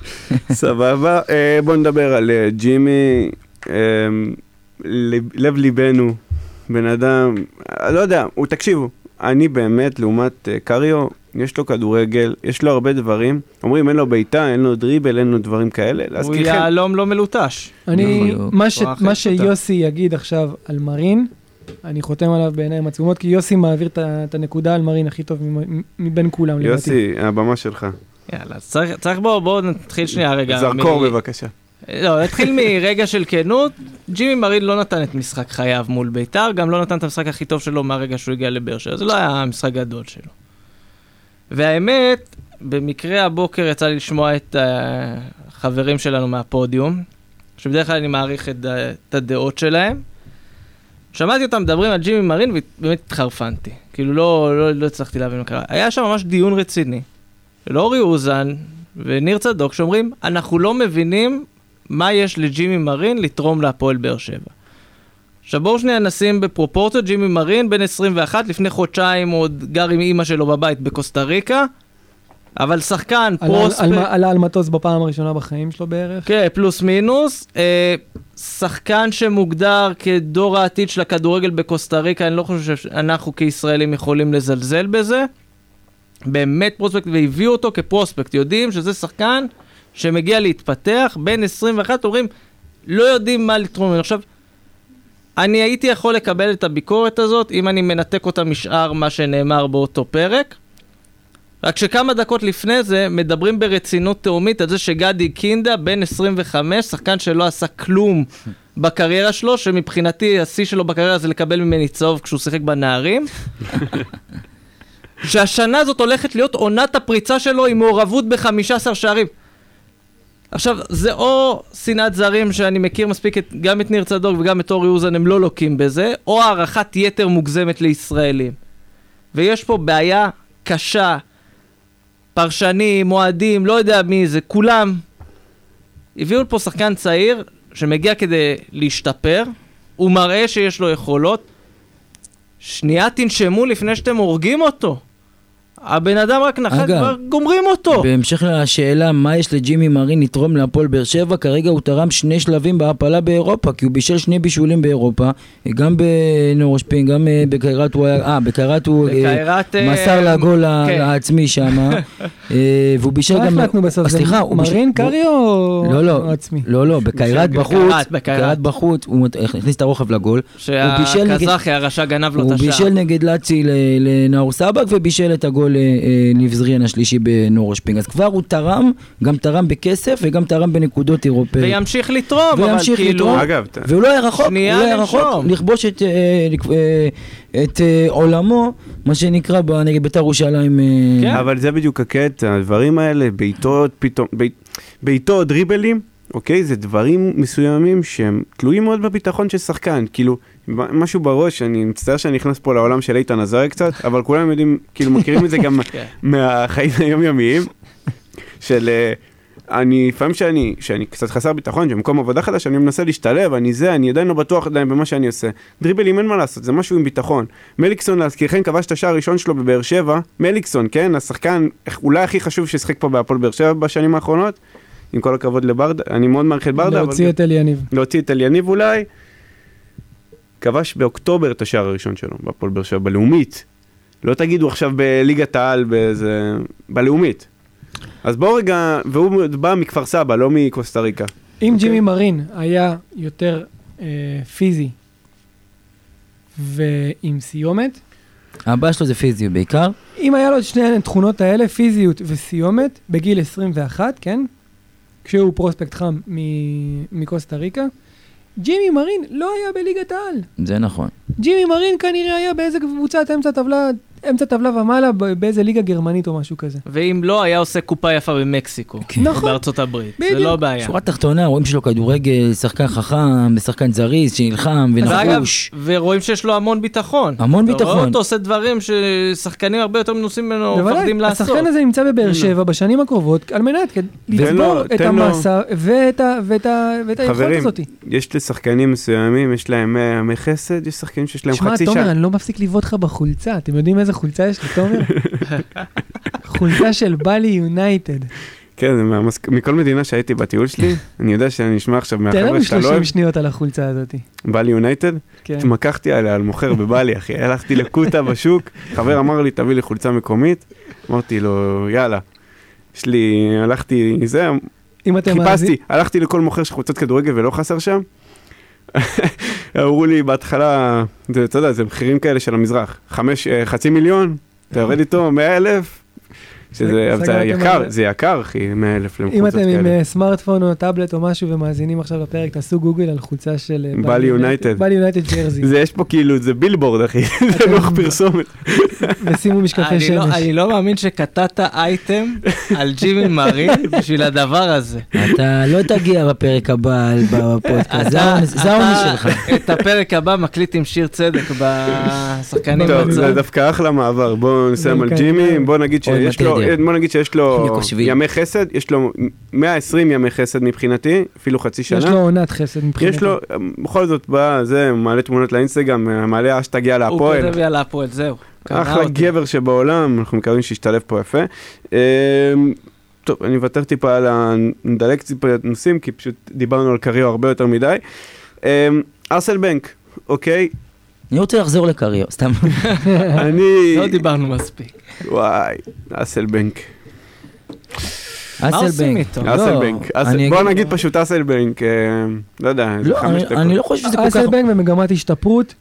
Speaker 1: סבבה. אה, בוא נדבר על אה, ג'ימי, אה, לב- לב ליבנו, בן אדם, אה, לא יודע, הוא, תקשיבו, אני באמת, לעומת אה, קריו, יש לו כדורגל, יש לו הרבה דברים. אומרים, אין לו בעיטה, אין לו דריבל, אין לו דברים כאלה.
Speaker 3: הוא
Speaker 1: להזכירכם,
Speaker 3: יהלום לא מלוטש.
Speaker 2: אני,
Speaker 1: נכון.
Speaker 4: בדיוק.
Speaker 2: מה, ש,
Speaker 3: וואו, אחי,
Speaker 2: מה
Speaker 3: תודה.
Speaker 2: שיוסי יגיד עכשיו על מרין, אני חותם עליו בעיניים עצומות, כי יוסי מעביר את ה- את הנקודה על מרין הכי טוב ממ- מבין כולם, לדעתי.
Speaker 1: יוסי, הבמה שלך.
Speaker 3: יאללה, אז צריך צריך בואו בואו נתחיל שנייה רגע.
Speaker 1: זרקור
Speaker 3: מ-
Speaker 1: בבקשה.
Speaker 3: לא, נתחיל מרגע של כנות. ג'ימי מרין לא נתן את משחק חייו מול ביתר, גם לא נתן את המשחק הכי טוב שלו מהרגע שהוא הגיע לבאר שבע. זה לא היה המשחק הגדול שלו. והאמת, במקרה הבוקר יצא לי לשמוע את החברים שלנו אה, מהפודיום, שבדרך כלל אני מעריך את, ה- את הדעות שלהם. שמעתי אותם מדברים על ג'ימי מרין ובאמת התחרפנתי. כאילו לא, לא, לא הצלחתי להבין מה קרה. היה שם ממש דיון רציני. של אורי אוזן וניר צדוק שאומרים, אנחנו לא מבינים מה יש לג'ימי מרין לתרום להפועל באר שבע. עכשיו בואו שנייה נשים בפרופורציות, ג'ימי מרין בן 21, לפני חודשיים הוא עוד גר עם אימא שלו בבית בקוסטה ריקה, אבל שחקן,
Speaker 2: עלה-
Speaker 3: פרוספקט...
Speaker 2: עלה- עלה על מטוס בפעם הראשונה בחיים שלו בערך.
Speaker 3: כן, פלוס מינוס. אה, שחקן שמוגדר כדור העתיד של הכדורגל בקוסטה ריקה, אני לא חושב שאנחנו כישראלים יכולים לזלזל בזה. באמת פרוספקט, והביאו אותו כפרוספקט. יודעים שזה שחקן שמגיע להתפתח, בין 21, אומרים, לא יודעים מה לתרום. עכשיו, אני הייתי יכול לקבל את הביקורת הזאת, אם אני מנתק אותה משאר מה שנאמר באותו פרק. רק שכמה דקות לפני זה, מדברים ברצינות תהומית על זה שגדי קינדה, בן 25, שחקן שלא עשה כלום בקריירה שלו, שמבחינתי השיא שלו בקריירה זה לקבל ממני צהוב כשהוא שיחק בנערים. שהשנה זאת הולכת להיות עונת הפריצה שלו עם מעורבות ב-15 שערים. עכשיו, זה או שנאת זרים שאני מכיר מספיק את, גם את ניר צדוק וגם את אורי אוזן, הם לא לוקים בזה, או הערכת יתר מוגזמת לישראלים. ויש פה בעיה קשה, פרשנים, אוהדים, לא יודע מי זה, כולם. הביאו לפה שחקן צעיר שמגיע כדי להשתפר, הוא מראה שיש לו יכולות. שנייה תנשמו לפני שאתם הורגים אותו. הבן אדם רק נחת,
Speaker 4: אגב,
Speaker 3: כבר גומרים אותו.
Speaker 4: בהמשך לשאלה מה יש לג'ימי מרין לתרום להפועל באר שבע, כרגע הוא תרם שני שלבים בהעפלה באירופה, כי הוא בישל שני בישולים באירופה, גם בנורשפין, גם אה, בקיירת הוא היה, אה, בקיירת הוא אה,
Speaker 3: בקיירת, אה,
Speaker 4: מסר לגול ה-
Speaker 3: כן.
Speaker 4: העצמי שם, אה, והוא בישל
Speaker 2: מה
Speaker 4: גם... אה,
Speaker 2: החלטנו בסוף? זה
Speaker 4: סליחה, הוא בישל-
Speaker 2: מרין
Speaker 4: הוא-
Speaker 2: קארי או
Speaker 4: לא, לא,
Speaker 2: או עצמי?
Speaker 4: לא, לא, בקיירת
Speaker 1: בקיירת,
Speaker 4: בחוץ,
Speaker 3: בקיירת.
Speaker 4: בקיירת בחוץ, הוא מת- הכניס את הרוחב לגול, הוא בישל נגד-
Speaker 3: שהקזחי הרשע גנב לו
Speaker 4: הוא
Speaker 3: את
Speaker 4: בישל
Speaker 3: השער.
Speaker 4: נגד לאצי ל- לנאור סבק ובישל את הגול אה, אה, לבזריאן השלישי בנור אשפינג. אז כבר הוא תרם, גם תרם בכסף וגם תרם בנקודות אירופאיות.
Speaker 3: וימשיך לתרום, אבל
Speaker 4: וימשיך
Speaker 3: כאילו...
Speaker 4: לתרום.
Speaker 1: אגב, אתה-
Speaker 4: והוא לא היה רחוק, הוא לא
Speaker 3: שנייה
Speaker 4: היה רחוק
Speaker 3: לנשום.
Speaker 4: לכבוש את, אה, לכ- אה, את אה, עולמו, מה שנקרא, ב- נגד בית"ר ירושלים. אה,
Speaker 3: כן.
Speaker 1: אבל זה בדיוק הקטע, הדברים האלה, בעיטות פתאום, בעיט- בעיטות, דריבלים, אוקיי? זה דברים מסוימים שהם תלויים מאוד בביטחון של שחקן, כאילו, מ- משהו בראש, אני מצטער שאני נכנס פה לעולם של איתן עזריה קצת, אבל כולם יודעים, כאילו מכירים את זה גם
Speaker 3: כן.
Speaker 1: מהחיים היומיומיים, של... אה, אני, לפעמים שאני, שאני קצת חסר ביטחון, שבמקום עבודה חדש, אני מנסה להשתלב, אני זה, אני עדיין לא בטוח עדיין במה שאני עושה. דריבלים אין מה לעשות, זה משהו עם ביטחון. מליקסון להזכירכם כבש את השער הראשון שלו בבאר שבע, מליקסון, כן, השחקן איך- אולי הכי חשוב ששיחק פה בהפועל באר שבע בשנים האחרונות, עם כל הכבוד לברדה, אני מאוד מעריך את ברדה,
Speaker 2: להוציא את אלי יניב.
Speaker 1: להוציא את אליניב אולי, כבש באוקטובר את השער הראשון שלו בהפועל באר שבע, בלאומית. לא תגידו עכשיו בליגת העל, באיזה... בלאומית. אז בואו רגע, והוא בא מכפר סבא, לא מקוסטה ריקה.
Speaker 2: אם
Speaker 1: אוקיי.
Speaker 2: ג'ימי מרין היה יותר אה, פיזי ועם סיומת,
Speaker 4: הבעיה שלו זה פיזי בעיקר.
Speaker 2: אם היה לו את שני התכונות האלה, פיזיות וסיומת, בגיל 21, כן? כשהוא פרוספקט חם מ- מקוסטה ריקה, ג'ימי מרין לא היה בליגת העל.
Speaker 4: זה נכון.
Speaker 2: ג'ימי מרין כנראה היה באיזה קבוצת אמצע טבלה, אמצע טבלה ומעלה, ב- באיזה ליגה גרמנית או משהו כזה.
Speaker 3: ואם לא, היה עושה קופה יפה במקסיקו.
Speaker 4: כן.
Speaker 2: נכון.
Speaker 3: בארצות הברית. זה
Speaker 2: בדיוק.
Speaker 3: לא בעיה.
Speaker 4: שורה תחתונה, רואים שלו כדורגל, שחקן חכם, ושחקן זריז, שנלחם
Speaker 3: ואגב,
Speaker 4: ונחוש.
Speaker 3: ורואים שיש לו המון ביטחון.
Speaker 4: המון
Speaker 3: אתה רואה
Speaker 4: ביטחון.
Speaker 3: אותו עושה דברים ששחקנים הרבה יותר מנוסים
Speaker 1: לא,
Speaker 3: ממנו מפחדים
Speaker 2: בוודאי,
Speaker 3: לעשות.
Speaker 2: השחקן הזה נמצא בבאר שבע בשנים הקרובות, על מנת כד-
Speaker 1: לו-
Speaker 2: לצבור את
Speaker 1: לא. תן לו-
Speaker 2: המאסה ואת ה- ואת ה- ואת היכולת
Speaker 1: חברים,
Speaker 2: הזאת.
Speaker 1: יש לשחקנים מסוימים, יש להם אה, ימי חסד, יש שחקנים שיש להם
Speaker 2: שמע,
Speaker 1: חצי
Speaker 2: תומר,
Speaker 1: שעה.
Speaker 2: אני לא מפסיק לבעוט לך בחולצה, אתם יודעים איזה חולצה יש לי, תומר? חולצה של באלי יונייטד.
Speaker 1: כן, זה מהמס- מכל מדינה שהייתי בטיול שלי, אני יודע שאני נשמע עכשיו
Speaker 2: תן
Speaker 1: מהחבר'ה
Speaker 2: לנו
Speaker 1: שאתה לא אוהב,
Speaker 2: 30 שניות על החולצה הזאת.
Speaker 1: בא לי יונייטד,
Speaker 2: כן.
Speaker 1: התמקחתי עליה על מוכר בבלי, אחי. הלכתי לקוטה בשוק, חבר אמר לי, תביא לי חולצה מקומית. אמרתי לו, יאללה. יש לי, הלכתי, זה,
Speaker 2: אם אתם מאזינים-
Speaker 1: חיפשתי, הלכתי לכל מוכר של חולצות כדורגל ולא חסר שם. אמרו לי בהתחלה, זה, אתה יודע, זה מחירים כאלה של המזרח. חמש, אה, חצי מיליון, אתה יורד איתו, מאה אלף. שזה
Speaker 2: סגרתם
Speaker 1: זה
Speaker 2: על
Speaker 1: יקר,
Speaker 2: זה.
Speaker 1: זה יקר, אחי, 100 אלף
Speaker 2: אם
Speaker 1: למחוזות
Speaker 2: אתם עם
Speaker 1: כאלה.
Speaker 2: אה, סמארטפון או טאבלט או משהו ומאזינים עכשיו לפרק, תעשו גוגל על חולצה של... אה,
Speaker 1: בל יונייטד.
Speaker 2: בל יונייטד ג'רזי,
Speaker 1: זה יש פה כאילו, זה בילבורד, אחי, זה לוח פרסומת.
Speaker 2: ושימו משקפי
Speaker 3: אני לא-
Speaker 2: שמש.
Speaker 3: אני לא מאמין שקטעת אייטם על ג'ימי מרין בשביל הדבר הזה.
Speaker 4: אתה לא תגיע בפרק הבא על- בפודקאסט, זה
Speaker 3: אתה-
Speaker 4: העונש- זה העונש
Speaker 3: אתה
Speaker 4: שלך.
Speaker 3: את הפרק הבא מקליט עם שיר צדק בשחקנים
Speaker 1: טוב,
Speaker 3: בצד.
Speaker 1: זה דווקא אחלה מעבר, בואו נסיים על
Speaker 2: כן.
Speaker 1: ג'ימי, בואו נגיד
Speaker 4: אוי,
Speaker 1: שיש לו,
Speaker 4: מטרידיה.
Speaker 1: בואו נגיד שיש לו
Speaker 4: ניקושבילי.
Speaker 1: ימי חסד, יש לו 120 ימי חסד מבחינתי, אפילו חצי
Speaker 2: יש לו
Speaker 1: שנה.
Speaker 2: עונת חסד מבחינתי.
Speaker 1: יש לו, בכל זאת, בא, זה, מעלה תמונות לאינסטגרם, מעלה אשטג יאללה
Speaker 3: הוא
Speaker 1: הפועל.
Speaker 3: כותב לי על הפועל, זהו. קנה
Speaker 1: אחלה
Speaker 3: אותי.
Speaker 1: גבר שבעולם, אנחנו מקווים שישתלב פה יפה. אמ, טוב, אני אוותר טיפה על ה... נדלג טיפה נושאים, כי פשוט דיברנו על קריו הרבה יותר מדי. אמ, ארסל בנק, אוקיי?
Speaker 4: אני רוצה לחזור לקריו, סתם.
Speaker 1: אני...
Speaker 3: לא דיברנו מספיק.
Speaker 1: וואי, אסל בנק.
Speaker 3: מה עושים
Speaker 4: אסלבנק.
Speaker 3: איתו?
Speaker 4: לא,
Speaker 1: אסל בנק. אסל-
Speaker 4: אני
Speaker 1: בוא
Speaker 4: אגיד-
Speaker 1: נגיד פשוט אסל בנק, אמ, לא יודע, איזה
Speaker 4: לא,
Speaker 1: חמש
Speaker 4: אני- אני לא
Speaker 1: דקות.
Speaker 4: חושב שזה כל כך...
Speaker 2: אסלבנק במגמת השתפרות.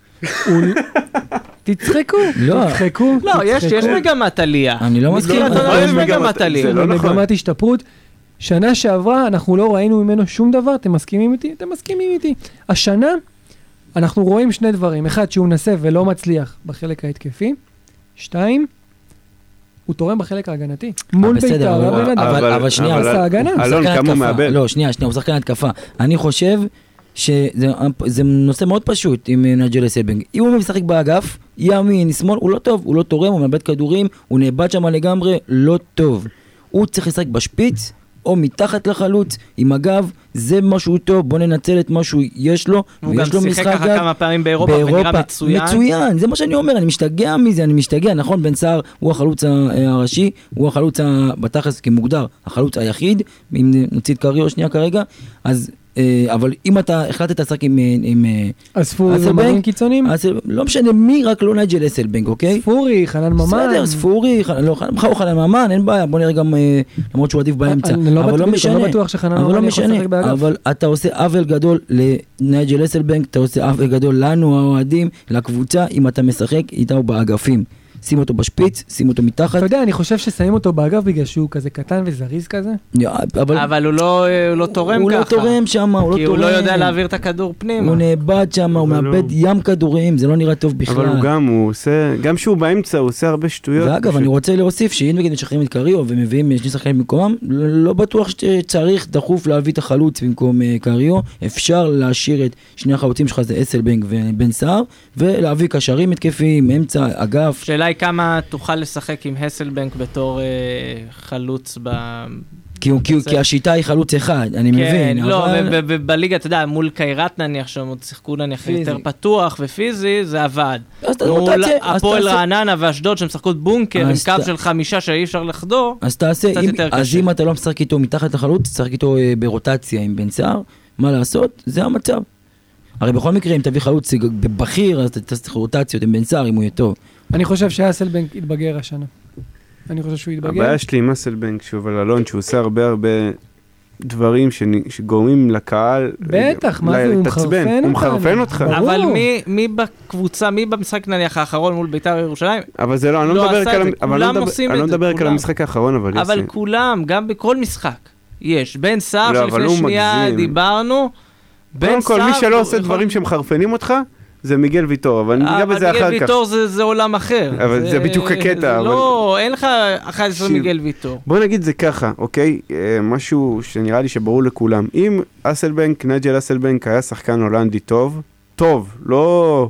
Speaker 2: הוא- תצחקו,
Speaker 4: לא.
Speaker 2: תצחקו.
Speaker 3: לא, יש יש
Speaker 2: תצחקו.
Speaker 3: מגמת עלייה.
Speaker 4: אני לא מסכים.
Speaker 3: מתחילת
Speaker 4: אבל-
Speaker 3: העונה
Speaker 1: אבל
Speaker 3: יש
Speaker 1: יש מגמת-
Speaker 3: מגמת עלייה.
Speaker 1: זה לא נכון.
Speaker 2: במגמת השתפרות. שנה שעברה אנחנו לא ראינו ממנו שום דבר, אתם מסכימים איתי? אתם מסכימים איתי. השנה אנחנו רואים שני דברים, אחד שהוא מנסה ולא מצליח בחלק ההתקפי, שתיים, הוא תורם בחלק ההגנתי. מול
Speaker 4: אה, בסדר,
Speaker 2: בית"ר,
Speaker 4: אבל-
Speaker 2: הבן אדם.
Speaker 4: אבל- אבל שנייה,
Speaker 2: עשה הגנה.
Speaker 1: אלון,
Speaker 4: שחקן
Speaker 1: כמה הוא
Speaker 4: התקפה.
Speaker 1: מאבד.
Speaker 4: לא, שנייה, שנייה, הוא שחקן התקפה. אני חושב שזה זה נושא מאוד פשוט עם אה, נג'ל אסלבנג. אם הוא משחק באגף, ימין, שמאל, הוא לא טוב, הוא לא תורם, הוא מאבד כדורים, הוא נאבד שם לגמרי, לא טוב. הוא צריך לשחק בשפיץ, או מתחת לחלוץ, עם הגב, זה מה שהוא טוב, בוא ננצל את מה שהוא יש לו,
Speaker 3: הוא גם
Speaker 4: ויש לו
Speaker 3: שיחק
Speaker 4: משחק
Speaker 3: ככה
Speaker 4: גג.
Speaker 3: כמה פעמים באירופה, ונראה מצוין.
Speaker 4: מצוין, זה מה שאני אומר, אני משתגע מזה, אני משתגע, נכון, בן סער הוא החלוץ ה- אה, הראשי, הוא החלוץ ה- בתכלס כמוגדר, החלוץ היחיד, אם נוציא את קריו שנייה כרגע, אז, אה, אבל אם אתה החלטת לשחק עם, אה, עם אה,
Speaker 2: אספו
Speaker 4: אסלבנק,
Speaker 2: זמנים קיצוניים,
Speaker 4: אז לא משנה מי, רק לא נייג'ל אסלבנק, אוקיי?
Speaker 2: ספורי, חנן ממן.
Speaker 4: בסדר, ספורי, ח- לא, ח- הוא חנן ממן, אין בעיה, בוא נראה גם, אה, למרות שהוא עדיף באמצע,
Speaker 2: אני לא
Speaker 4: אבל
Speaker 2: בטוח-
Speaker 4: לא
Speaker 2: אני
Speaker 4: משנה.
Speaker 2: לא בטוח שחנן
Speaker 4: אבל לא
Speaker 2: ממן יכול לשחק
Speaker 4: משנה,
Speaker 2: באגף.
Speaker 4: אבל אתה עושה עוול גדול לנייג'ל אסלבנק, אתה עושה עוול גדול לנו האוהדים, לקבוצה, אם אתה משחק איתו באגפים. שים אותו בשפיץ, שים אותו מתחת,
Speaker 2: אתה יודע, אני חושב ששמים אותו באגף בגלל שהוא כזה קטן וזריז כזה.
Speaker 4: אבל
Speaker 3: אבל הוא לא הוא לא תורם ככה.
Speaker 4: הוא לא תורם שם, הוא לא תורם.
Speaker 3: כי הוא לא יודע להעביר את הכדור פנימה.
Speaker 4: הוא נאבד שם, הוא
Speaker 1: אבל
Speaker 4: מאבד
Speaker 1: הוא-
Speaker 4: ים כדורים, זה לא נראה טוב בכלל.
Speaker 1: אבל הוא גם, הוא עושה, גם כשהוא באמצע, הוא עושה הרבה שטויות.
Speaker 4: ואגב,
Speaker 1: פשוט.
Speaker 4: אני רוצה להוסיף שאם נגיד משחררים את קריו ומביאים אה, שני שחקנים במקומם, לא לא בטוח שצריך דחוף להביא את החלוץ במקום אה, קריו. אפשר להשאיר את שני החלוצים שלך, זה אסלבנק ובן סער, ולהביא קשרים התקפיים, אמצע, אגף.
Speaker 3: השאלה היא כמה תוכל לשחק עם הסלבנק בתור אה, חלוץ ב...
Speaker 4: כי הוא- כי הוא- כי השיטה היא חלוץ אחד, אני
Speaker 3: כן,
Speaker 4: מבין.
Speaker 3: לא,
Speaker 4: אבל-
Speaker 3: ב- ב- ב- בליגה, אתה יודע, מול קיירת נניח, שם עוד שיחקו נניח
Speaker 4: פיזי.
Speaker 3: יותר פתוח ופיזי, זה עבד.
Speaker 4: אז אתה-
Speaker 3: מול
Speaker 4: רוטציה, אז
Speaker 3: הפועל
Speaker 4: תעשה-
Speaker 3: רעננה ואשדוד, שהם שיחקו בונקר עם
Speaker 4: אז
Speaker 3: קו
Speaker 4: ת-
Speaker 3: של חמישה שאי אפשר לחדור,
Speaker 4: אז תעשה,
Speaker 3: קצת
Speaker 4: אם,
Speaker 3: יותר
Speaker 4: אז
Speaker 3: קשה.
Speaker 4: אם אתה לא משחק איתו מתחת לחלוץ, תשחק איתו אה, ברוטציה עם בן סער, מה לעשות? זה המצב. הרי בכל מקרה, אם תביא חלוץ ג- בכיר, אז תעשה רוטציות עם בן סער, אם הוא יהיה טוב.
Speaker 2: אני חושב שאסלבנק יתבגר השנה. אני חושב שהוא יתבגר.
Speaker 1: הבעיה שלי עם אסלבנק, שוב, על אלון, שהוא עושה הרבה הרבה דברים שנ- שגורמים לקהל...
Speaker 2: בטח, מה
Speaker 1: ל-
Speaker 2: זה, הוא
Speaker 1: להתעצבן.
Speaker 2: מחרפן
Speaker 1: הוא
Speaker 2: אותנו.
Speaker 1: מחרפן אותך.
Speaker 2: ברור.
Speaker 3: אבל מי- מי בקבוצה, מי במשחק נניח האחרון מול בית"ר ירושלים,
Speaker 1: אבל זה לא, אני לא
Speaker 3: לא
Speaker 1: מדבר
Speaker 3: עשה
Speaker 1: רק על
Speaker 3: את
Speaker 1: המ-
Speaker 3: זה,
Speaker 1: אבל אני
Speaker 3: כולם
Speaker 1: לא מדבר-
Speaker 3: עושים
Speaker 1: אני
Speaker 3: את
Speaker 1: לא
Speaker 3: זה,
Speaker 1: מדבר רק על
Speaker 3: כולם.
Speaker 1: המשחק האחרון, אבל יוסי.
Speaker 3: אבל כולם, גם בכל משחק, יש. בן סער,
Speaker 1: לא, אבל הוא
Speaker 3: שלפני שנייה
Speaker 1: מגזים.
Speaker 3: דיברנו, בן
Speaker 1: קודם
Speaker 3: סער...
Speaker 1: כל, מי שלא עושה
Speaker 3: הוא-
Speaker 1: דברים שמחרפנים אותך, זה מיגל ויטור, אבל ניגע בזה
Speaker 3: אבל
Speaker 1: אחר
Speaker 3: מיגל
Speaker 1: כך.
Speaker 3: ויטור זה- זה עולם אחר.
Speaker 1: אבל זה בדיוק הקטע,
Speaker 3: זה
Speaker 1: אבל-
Speaker 3: לא, אין לך 11
Speaker 1: תקשיב.
Speaker 3: מיגל ויטור.
Speaker 1: בוא נגיד זה ככה, אוקיי? אה, משהו שנראה לי שברור לכולם. אם אסלבנק, נג'ל אסלבנק היה שחקן הולנדי טוב, טוב, לא...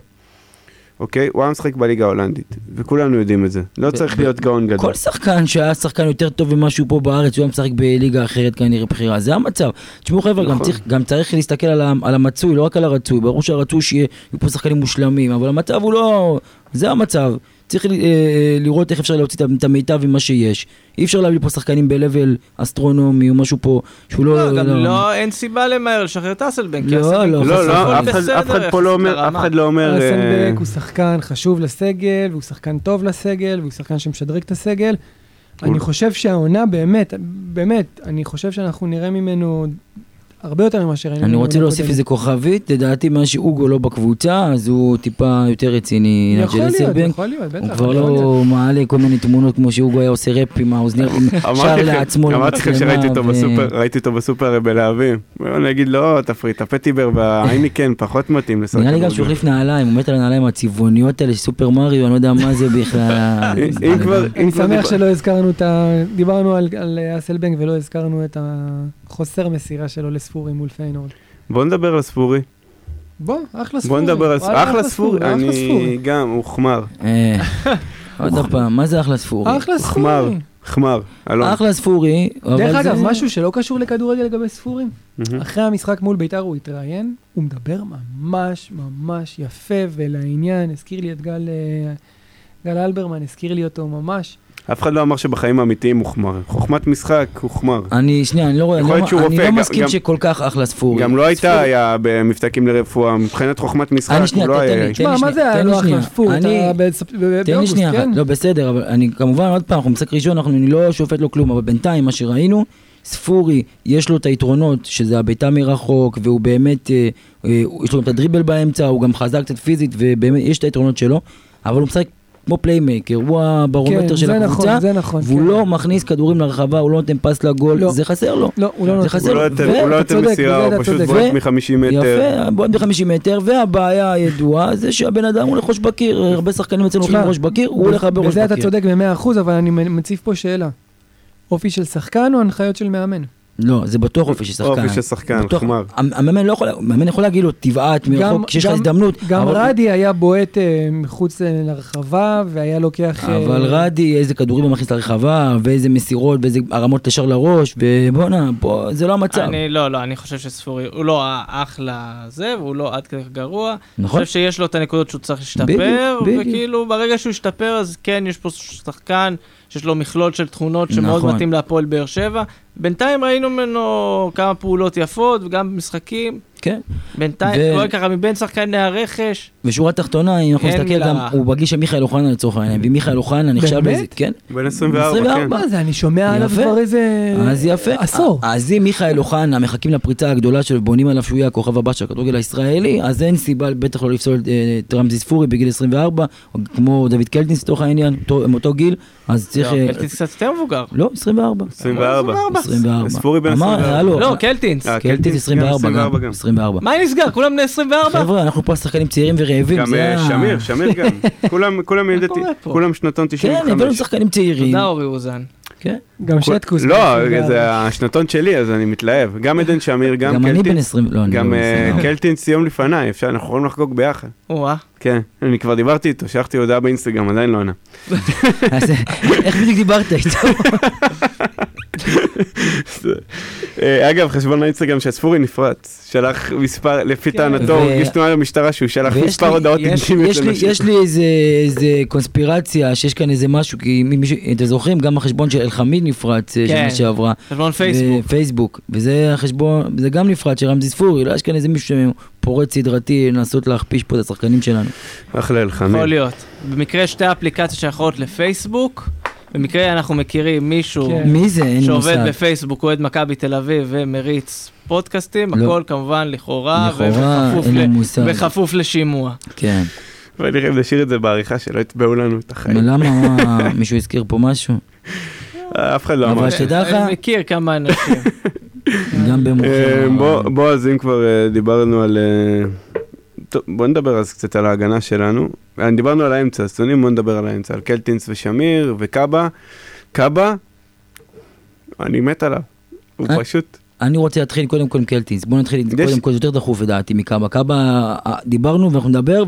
Speaker 1: אוקיי? הוא היה משחק בליגה ההולנדית, וכולנו יודעים את זה. לא
Speaker 4: ב-
Speaker 1: צריך
Speaker 4: ב-
Speaker 1: להיות גאון גדול.
Speaker 4: כל שחקן שהיה שחקן יותר טוב ממה שהוא פה בארץ, הוא היה משחק בליגה אחרת כנראה בחירה, זה המצב. תשמעו חבר'ה, גם
Speaker 1: נכון.
Speaker 4: צריך- גם צריך להסתכל על ה- על המצוי, לא רק על הרצוי. ברור שהרצוי שיהיו פה שחקנים מושלמים, אבל המצב הוא לא... זה המצב. צריך ל- אה, לראות איך אפשר להוציא את ה- את המיטב עם מה שיש. אי אפשר להביא פה שחקנים ב-level אסטרונומי או משהו פה שהוא לא...
Speaker 3: לא, גם לא, אין סיבה למהר לשחרר את אסלבנק. כי
Speaker 4: לא,
Speaker 3: אסלבנק
Speaker 4: לא,
Speaker 3: הוא
Speaker 1: לא,
Speaker 3: בסך
Speaker 1: לא,
Speaker 3: הכל
Speaker 1: אף אחד-
Speaker 3: בסדר
Speaker 1: אף אחד פה
Speaker 3: יחסית
Speaker 1: לא אומר, אף
Speaker 3: לרמה.
Speaker 1: אחד לא אומר... אה,
Speaker 2: אסלבנק הוא שחקן חשוב לסגל, והוא שחקן טוב לסגל, והוא שחקן שמשדרג את הסגל.
Speaker 1: הוא-
Speaker 2: אני חושב שהעונה באמת, באמת, אני חושב שאנחנו נראה ממנו הרבה יותר ממה שראינו.
Speaker 4: אני רוצה
Speaker 2: בעונה
Speaker 4: להוסיף
Speaker 2: הקודמת.
Speaker 4: איזה כוכבית, לדעתי מאז שאוגו לא בקבוצה, אז הוא טיפה יותר רציני.
Speaker 2: יכול
Speaker 4: נג'ל
Speaker 2: להיות,
Speaker 4: אסלבנק.
Speaker 2: יכול להיות, בטח.
Speaker 4: הוא
Speaker 2: יכול
Speaker 4: כבר
Speaker 2: להיות.
Speaker 4: לא מעלה כל מיני תמונות כמו שאוגו היה עושה ראפ עם האוזניר, עם- שר
Speaker 1: אמרתי לכם,
Speaker 4: לעצמו.
Speaker 1: אמרתי לכם
Speaker 4: למצלמה,
Speaker 1: שראיתי אותו
Speaker 4: ו-
Speaker 1: בסופר, ראיתי אותו בסופר בלהבים. הוא היה להגיד לא, תפריט, הפטיבר והאייניקן כן, פחות מתאים לשחק.
Speaker 4: נראה לי גם
Speaker 1: כדורגל."
Speaker 4: שהוא החליף נעליים, הוא מת על הנעליים הצבעוניות האלה, סופר מריו, אני לא יודע מה זה בכלל. לא-
Speaker 1: אם- אם כבר, אם
Speaker 2: אני
Speaker 1: כבר
Speaker 2: שמח
Speaker 1: דיבר-
Speaker 2: שלא הזכרנו את ה... דיברנו על- על אסלבנק ולא הזכרנו את החוסר מסירה שלו לספורי מול פיינורד.
Speaker 1: בוא נדבר על ספורי.
Speaker 2: בוא, אחלה
Speaker 1: בוא
Speaker 2: ספורי.
Speaker 1: נדבר על
Speaker 2: וואלה,
Speaker 1: ספורי. אחלה ספורי.
Speaker 2: אחלה
Speaker 1: אני
Speaker 2: ספורי.
Speaker 1: גם, הוא חמר.
Speaker 4: אה, עוד פעם, מה זה אחלה ספורי?
Speaker 2: אחלה
Speaker 1: חמר.
Speaker 2: ספורי.
Speaker 1: חמר. אלון.
Speaker 4: אחלה ספורי, אבל
Speaker 2: דרך אגב,
Speaker 4: זה-
Speaker 2: משהו שלא קשור לכדורגל לגבי ספורים.
Speaker 1: מהמם.
Speaker 2: אחרי המשחק מול ביתר הוא התראיין, הוא מדבר ממש ממש יפה ולעניין, הזכיר לי את גל, אה, גל אלברמן, הזכיר לי אותו ממש.
Speaker 1: אף אחד לא אמר שבחיים האמיתיים הוא חמר. חוכמת משחק הוא חמר.
Speaker 4: אני, שנייה, אני לא רואה, אני
Speaker 1: יכול להיות שהוא
Speaker 4: לא- אני
Speaker 1: רופא,
Speaker 4: לא
Speaker 1: גם-
Speaker 4: מסכים
Speaker 1: גם-
Speaker 4: שכל כך אחלה ספורי.
Speaker 1: גם לא הייתה
Speaker 4: ספורי-
Speaker 1: היה במבזקים לרפואה, מבחינת חוכמת משחק
Speaker 4: אני שנייה,
Speaker 1: הוא לא
Speaker 4: תן
Speaker 1: היה...
Speaker 4: לי.
Speaker 2: תשמע, מה
Speaker 4: שנייה,
Speaker 2: זה היה
Speaker 4: תן לי
Speaker 2: לא
Speaker 4: שנייה.
Speaker 2: אחלה ספור? אתה
Speaker 4: אני-
Speaker 2: בעצ- ב- ב-
Speaker 4: תן לי
Speaker 2: באוגוסט,
Speaker 4: שנייה אחת,
Speaker 2: כן?
Speaker 4: לא בסדר, אבל אני כמובן, עוד פעם, אנחנו משחק ראשון, אנחנו אני לא שופט לו כלום, אבל בינתיים מה שראינו, ספורי, יש לו את היתרונות, שזה הבעיטה מרחוק, והוא באמת, אה, אה, הוא- יש לו את הדריבל באמצע, הוא גם חזק קצת פיזית, ובאמת יש את היתרונות שלו, אבל הוא משחק כמו פליימייקר, הוא הברומטר
Speaker 2: כן,
Speaker 4: של
Speaker 2: זה
Speaker 4: הקבוצה,
Speaker 2: נכון, זה נכון.
Speaker 4: והוא
Speaker 2: כן.
Speaker 4: לא מכניס כדורים לרחבה, הוא לא נותן פס לגול,
Speaker 2: לא.
Speaker 4: זה חסר לו.
Speaker 2: לא, הוא לא
Speaker 4: זה
Speaker 2: נותן.
Speaker 4: חסר
Speaker 1: הוא לא
Speaker 4: ו-
Speaker 1: יותר- הוא לא
Speaker 2: אתה
Speaker 1: יותר
Speaker 2: צודק,
Speaker 1: מסירה,
Speaker 2: בזה
Speaker 1: הוא
Speaker 2: אתה
Speaker 1: פשוט
Speaker 2: צודק.
Speaker 1: בועט
Speaker 4: ו-
Speaker 1: מ-50 מטר.
Speaker 4: יפה, בועט ב-50 מטר, והבעיה הידועה זה שהבן אדם הולך ראש בקיר, הרבה שחקנים אצלנו
Speaker 2: תשמע,
Speaker 4: הולכים ראש בקיר, הוא הולך הרבה ראש
Speaker 2: בזה אתה
Speaker 4: בקיר.
Speaker 2: צודק במאה אחוז, אבל אני מציב פה שאלה. אופי של שחקן או הנחיות של מאמן?
Speaker 4: לא, זה בטוח אופי של שחקן.
Speaker 1: אופי של שחקן,
Speaker 4: בטוח.
Speaker 1: חמר.
Speaker 4: המ- המאמן לא יכול, המאמן יכול להגיד לו, תבעט מרחוק כשיש לך
Speaker 2: גם-
Speaker 4: הזדמנות.
Speaker 2: גם
Speaker 4: אבל-
Speaker 2: רדי היה בועט אה, מחוץ אה, לרחבה, והיה לוקח... אה,
Speaker 4: אבל רדי, איזה כדורים הוא מכניס לרחבה, ואיזה מסירות, ואיזה הרמות ישר לראש, ובואנה, בוא, זה לא המצב.
Speaker 3: אני לא, לא, אני חושב שספורי, הוא לא אחלה זה, והוא לא עד כדי כך גרוע.
Speaker 4: נכון?
Speaker 3: אני חושב שיש לו את הנקודות שהוא צריך להשתפר,
Speaker 4: בדיוק, בדיוק.
Speaker 3: וכאילו ברגע שהוא ישתפר אז כן, יש פה שחקן שיש לו מכלול של תכונות שמאוד
Speaker 4: נכון.
Speaker 3: מתאים להפועל באר שבע. בינתיים ראינו ממנו כמה פעולות יפות וגם משחקים.
Speaker 4: כן.
Speaker 3: בינתיים,
Speaker 4: ו-
Speaker 3: רואה ככה מבין שחקני הרכש,
Speaker 4: ושורה תחתונה, אם אנחנו
Speaker 3: אין
Speaker 4: נסתכל
Speaker 3: מילה
Speaker 4: גם,
Speaker 3: רעה.
Speaker 4: הוא בגיל של מיכאל אוחנה לצורך העניין, ומיכאל אוחנה נחשב
Speaker 2: באמת?
Speaker 4: לזה, כן?
Speaker 1: הוא בן 24,
Speaker 4: 24,
Speaker 1: כן.
Speaker 2: מה זה, אני שומע עליו
Speaker 4: יפה.
Speaker 2: כבר איזה...
Speaker 4: אז יפה.
Speaker 2: עשור.
Speaker 4: אז אם מיכאל אוחנה מחכים לפריצה הגדולה שלו, בונים עליו שהוא יהיה הכוכב הבא של הכדורגל הישראלי, אז אין סיבה בטח לא לפסול אה, את רמזי ספורי בגיל 24, או כמו דוד קלטינס לצורך העניין, אותו- הם אותו גיל, אז צריך...
Speaker 1: לא,
Speaker 4: אה,
Speaker 3: לא, קלטינס קצת יותר מבוגר.
Speaker 4: לא, 24.
Speaker 1: אה, 24.
Speaker 4: 24.
Speaker 1: ספורי בן
Speaker 4: אמר,
Speaker 1: 24.
Speaker 4: הלו,
Speaker 3: לא, קלטינס.
Speaker 1: אה,
Speaker 4: קלטינס 24
Speaker 1: 24
Speaker 4: גם.
Speaker 1: גם.
Speaker 4: 24.
Speaker 3: מה נסגר? כולם בני 24?
Speaker 4: חבר'ה, אנחנו פה שחקנים צעירים ורעבים,
Speaker 1: גם
Speaker 4: זה
Speaker 1: אה,
Speaker 4: ה-
Speaker 1: שמיר, שמיר גם. כולם- כולם ילדי...
Speaker 3: קורה פה?
Speaker 1: כולם שנתון
Speaker 4: כן, הבאנו
Speaker 1: 95.
Speaker 4: שחקנים צעירים.
Speaker 3: תודה אורי אוזן.
Speaker 4: כן.
Speaker 2: גם שטקוס.
Speaker 1: לא,
Speaker 4: אה,
Speaker 2: גם-
Speaker 1: זה השנתון שלי, אז אני מתלהב. גם עדן שמיר, גם
Speaker 4: גם אני בן
Speaker 1: קלטינס,
Speaker 4: 20, לא, אני לא
Speaker 1: גם
Speaker 4: בן
Speaker 1: אה,
Speaker 4: 24.
Speaker 1: קלטינס יום לפניי, אפשר, אנחנו יכולים לחגוג ביחד.
Speaker 3: או-אה.
Speaker 1: כן, אני כבר דיברתי איתו, שלחתי הודעה באינסטגרם, עדיין לא ענה.
Speaker 4: אז, אה, איך בדיוק דיברת איתו?
Speaker 1: אה, אגב, חשבון האינסטגרם שהספורי נפרץ, שלח מספר, לפי
Speaker 2: כן.
Speaker 1: טענתו,
Speaker 4: ו-
Speaker 1: הוא הגיש תנועה למשטרה שהוא שלח
Speaker 4: ויש
Speaker 1: מספר
Speaker 4: לי-
Speaker 1: הודעות
Speaker 4: יש-
Speaker 1: אינטימיות
Speaker 4: יש לי-
Speaker 1: לנשים.
Speaker 4: יש לי איזה, איזה קונספירציה שיש כאן איזה משהו, כי מי- מי- אתם זוכרים, גם החשבון של אלחמיד נפרץ אה,
Speaker 3: כן.
Speaker 4: שנה שעברה.
Speaker 3: חשבון פייסבוק.
Speaker 4: ו- פייסבוק. וזה החשבון, זה גם נפרץ של רמזי ספורי, לא יש כאן איזה מישהו שפורץ סדרתי לנסות להכפיש פה את השחקנים שלנו.
Speaker 1: אחלה אלחמי.
Speaker 3: יכול להיות. במקרה שתי אפליקציות שייכות לפייסבוק, במקרה אנחנו מכירים מישהו
Speaker 2: כן.
Speaker 4: מי זה? אין לי מושג.
Speaker 3: שעובד בפייסבוק, אוהד מכבי תל אביב ומריץ פודקאסטים,
Speaker 4: לא.
Speaker 3: הכל כמובן לכאורה,
Speaker 4: לכאורה,
Speaker 3: ובכפוף
Speaker 4: אין לי
Speaker 3: ל-
Speaker 4: מושג.
Speaker 3: בכפוף לשימוע.
Speaker 4: כן.
Speaker 1: ונראה אם נשאיר את זה בעריכה, שלא יתבעו לנו את החיים.
Speaker 4: למה מה, מישהו הזכיר פה משהו?
Speaker 1: אה, אף אחד לא אמר.
Speaker 4: אבל שתדע לך-
Speaker 3: אני מכיר כמה אנשים.
Speaker 4: גם
Speaker 1: אה,
Speaker 4: במוחים.
Speaker 1: בוא- בוא, אז אם כבר אה, דיברנו על... אה, טוב, בוא נדבר אז קצת על ההגנה שלנו. אה, דיברנו על האמצע, אז תונים, בוא נדבר על האמצע, על קלטינס ושמיר וקאבה. קאבה, אני מת עליו. הוא
Speaker 4: אה?
Speaker 1: פשוט...
Speaker 4: אני רוצה להתחיל קודם כל עם קלטינס, בוא נתחיל
Speaker 1: יש-
Speaker 4: קודם כל, זה יותר דחוף לדעתי מקאבה. קאבה, אה, דיברנו ואנחנו נדבר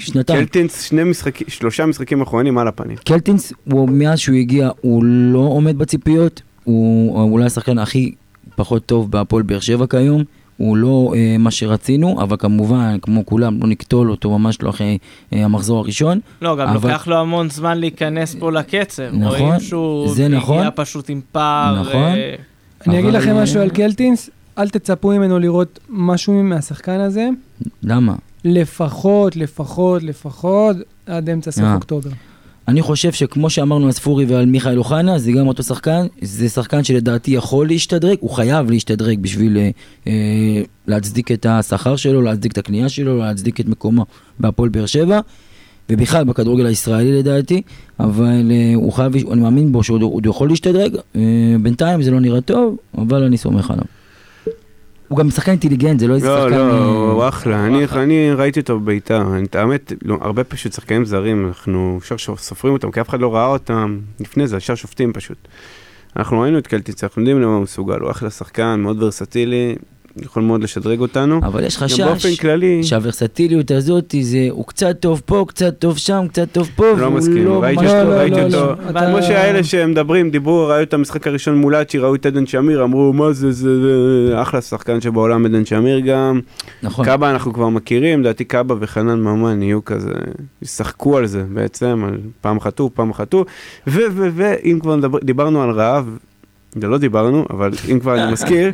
Speaker 4: ושנתיים.
Speaker 1: קלטינס, שני משחקים, שלושה משחקים אחרונים על הפנים.
Speaker 4: קלטינס, הוא, מאז שהוא הגיע, הוא לא עומד בציפיות, הוא הוא אולי השחקן הכי פחות טוב בהפועל באר שבע כיום, הוא לא אה, מה שרצינו, אבל כמובן, כמו כולם, לא נקטול אותו ממש לא אחרי אה, המחזור הראשון.
Speaker 3: לא, גם
Speaker 4: אבל-
Speaker 3: לוקח לו המון זמן להיכנס פה לקצב.
Speaker 4: נכון,
Speaker 3: רואים שהוא
Speaker 4: זה נכון.
Speaker 3: הגיע פשוט עם פער.
Speaker 4: נכון.
Speaker 3: אה,
Speaker 2: אני אגיד
Speaker 4: אבל-
Speaker 2: לכם משהו על קלטינס, אל תצפו ממנו לראות משהו מהשחקן הזה,
Speaker 4: למה?
Speaker 2: לפחות, לפחות, לפחות, עד אמצע סוף
Speaker 4: אה.
Speaker 2: אוקטובר.
Speaker 4: אני חושב שכמו שאמרנו על ספורי ועל מיכאל אוחנה, זה גם אותו שחקן, זה שחקן שלדעתי יכול להשתדרג, הוא חייב להשתדרג בשביל אה, אה, להצדיק את השכר שלו, להצדיק את הקנייה שלו, להצדיק את מקומו בהפועל באר שבע, ובכלל בכדורגל הישראלי לדעתי, אבל אה, הוא חייב, אני מאמין בו שהוא עוד יכול להשתדרג, אה, בינתיים זה לא נראה טוב, אבל אני סומך עליו. הוא גם שחקן אינטליגנט, זה לא איזה
Speaker 1: לא,
Speaker 4: שחקן...
Speaker 1: לא,
Speaker 4: אה,
Speaker 1: הוא אחלה. אני- אני ראיתי אותו בביתר. אני- את האמת, לא, הרבה פשוט שחקנים זרים, אנחנו ישר ש- סופרים אותם, כי אף אחד לא ראה אותם. לפני זה, ישר שופטים פשוט. אנחנו ראינו את קלטיץ, אנחנו יודעים למה הוא מסוגל. הוא אחלה שחקן, מאוד ורסטילי, יכול מאוד לשדרג אותנו.
Speaker 4: אבל יש
Speaker 1: גם באופן
Speaker 4: חשש
Speaker 1: כללי,
Speaker 4: שהוורסטיליות הזאת, זה, הוא קצת טוב פה, קצת טוב שם, קצת טוב פה,
Speaker 1: לא
Speaker 4: והוא
Speaker 1: מסכים. ראיתי
Speaker 4: ממש
Speaker 1: אותו,
Speaker 4: טוב.
Speaker 1: ראיתי
Speaker 2: לא,
Speaker 1: אותו.
Speaker 2: לא. אתה-
Speaker 1: כמו שהאלה שמדברים, דיברו, ראו את המשחק הראשון מול אצ'י, ראו את עדן שמיר, אמרו, מה זה, זה, זה, אחלה שחקן שבעולם עדן שמיר גם.
Speaker 4: נכון.
Speaker 1: קאבה אנחנו כבר מכירים, לדעתי קאבה וחנן ממן יהיו כזה, ישחקו על זה בעצם, על פעם חטאו, פעם חטאו, ואם כבר מדבר, דיברנו על רעב, לא דיברנו, אבל אם כבר אני מזכיר,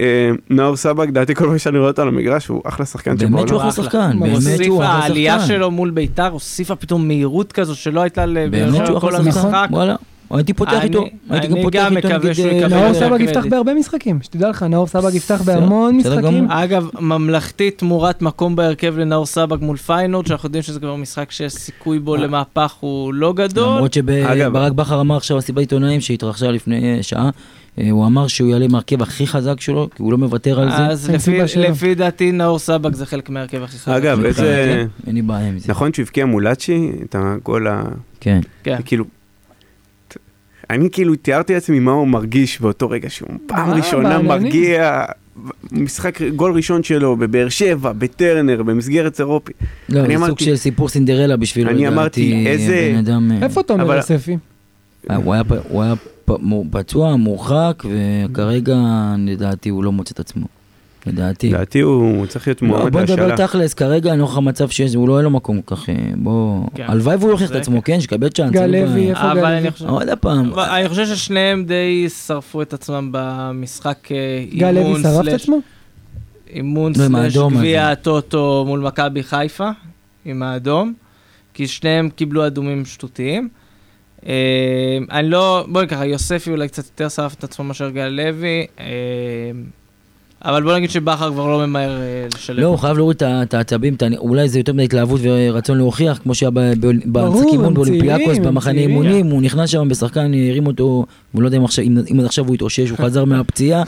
Speaker 1: אה, נאור סבק, דעתי כל פעם שאני רואה אותו על המגרש, הוא אחלה שחקן שבעולם.
Speaker 4: באמת שהוא אחלה
Speaker 3: אחלה.
Speaker 4: שחקן,
Speaker 2: הוא
Speaker 4: באמת
Speaker 3: הוסיפה,
Speaker 4: שהוא אחלה
Speaker 3: העלייה
Speaker 4: שחקן.
Speaker 3: שלו מול ביתר הוסיפה פתאום מהירות כזו שלא הייתה לבאר
Speaker 4: באמת שהוא
Speaker 3: שבע כל
Speaker 4: אחלה שחקן, נכון.
Speaker 3: המשחק.
Speaker 4: וואלה. הייתי פותח
Speaker 3: אני-
Speaker 4: איתו, הייתי גם
Speaker 3: אני
Speaker 4: פותח
Speaker 3: גם
Speaker 4: איתו
Speaker 3: מקווה
Speaker 4: נגיד...
Speaker 3: שהוא
Speaker 4: אה,
Speaker 3: יקבל
Speaker 2: נאור
Speaker 3: זה
Speaker 2: סבג
Speaker 3: הקרדיט.
Speaker 2: יפתח בהרבה משחקים, שתדע לך, נאור סבג יפתח
Speaker 4: בסדר,
Speaker 2: בהמון
Speaker 4: בסדר
Speaker 2: משחקים.
Speaker 4: גמור.
Speaker 3: אגב, ממלכתי תמורת מקום בהרכב לנאור סבק מול פיינורד, שאנחנו יודעים שזה כבר משחק שהסיכוי
Speaker 2: אה.
Speaker 3: בו למהפך הוא לא גדול.
Speaker 4: למרות
Speaker 1: אגב-
Speaker 4: שברק בכר אמר עכשיו הסיבה עיתונאים שהתרחשה לפני אה, שעה, אה, הוא אמר שהוא יעלה עם ההרכב הכי חזק שלו, כי הוא לא מוותר על זה.
Speaker 3: אז
Speaker 2: אין
Speaker 3: לפי-
Speaker 2: סיבה שלא.
Speaker 3: לפי דעתי נאור סבק זה חלק מההרכב הכי חזק.
Speaker 1: אגב,
Speaker 3: שלנו.
Speaker 1: איזה-
Speaker 4: אין לי בעיה עם זה.
Speaker 1: נכון שהוא הבקיע מול אצ'י, את הגול ה...
Speaker 4: כן.
Speaker 3: כן.
Speaker 1: כאילו... אני כאילו תיארתי לעצמי מה הוא מרגיש באותו רגע שהוא פעם
Speaker 2: אה,
Speaker 1: ראשונה
Speaker 2: בעננים.
Speaker 1: מרגיע, משחק גול ראשון שלו בבאר שבע, בטרנר, במסגרת אירופית.
Speaker 4: לא,
Speaker 1: אני
Speaker 4: זה סוג
Speaker 1: אמרתי-
Speaker 4: של סיפור סינדרלה בשבילו,
Speaker 1: אני אמרתי,
Speaker 4: לדעתי,
Speaker 1: איזה-
Speaker 4: בן אדם... אה,
Speaker 2: איפה תומר
Speaker 1: אבל-
Speaker 2: יוספי?
Speaker 4: אה, הוא היה, פ- הוא היה פ- מו- פצוע, מורחק, וכרגע לדעתי הוא לא מוצא את עצמו. לדעתי.
Speaker 1: לדעתי הוא צריך להיות
Speaker 4: לא,
Speaker 1: מועמד
Speaker 4: בוא נדבר
Speaker 1: להשאלה.
Speaker 4: תכלס, כרגע נוכח המצב שיש, הוא לא אין לו מקום כל כך, אה, בוא...
Speaker 3: כן.
Speaker 4: הלוואי והוא יוכיח את
Speaker 3: זה
Speaker 4: עצמו, כן, שיקבל צ'אנס.
Speaker 2: גל
Speaker 4: אין לי
Speaker 2: לוי,
Speaker 4: בעיה. אה,
Speaker 2: איפה
Speaker 3: אבל
Speaker 2: גל
Speaker 3: אני
Speaker 2: לוי?
Speaker 3: חושב-
Speaker 4: עוד הפעם,
Speaker 3: אבל אני חושב ששניהם די שרפו את עצמם במשחק אה,
Speaker 2: גל לוי
Speaker 3: אימון
Speaker 2: שרף את
Speaker 3: סלאש-
Speaker 2: עצמו?
Speaker 3: אימון
Speaker 4: לא, עם
Speaker 3: סלאש
Speaker 4: האדום
Speaker 3: גביע הטוטו מול מכבי חיפה, עם האדום, כי שניהם קיבלו אדומים שטותיים. אה, אני לא, בואי ככה, יוספי אולי קצת יותר שרף את עצמו מאשר גל לוי, אה, אבל בוא נגיד שבכר כבר לא ממהר אה, לשלם.
Speaker 4: לא, הוא חייב להוריד את ה- את העצבים, את ה- אולי זה יותר מדי התלהבות ורצון להוכיח, כמו שהיה ב- ב- במשחק
Speaker 2: ברור,
Speaker 4: אימון
Speaker 2: הם
Speaker 4: באולימפיאקוס,
Speaker 2: צעירים, הם
Speaker 4: במחנה
Speaker 2: צעירים.
Speaker 4: אימונים, הוא נכנס שם בשחקן, הרים אותו, הוא לא יודע אם עכשיו- אם אם עד עכשיו הוא התאושש, הוא חזר מהפציעה,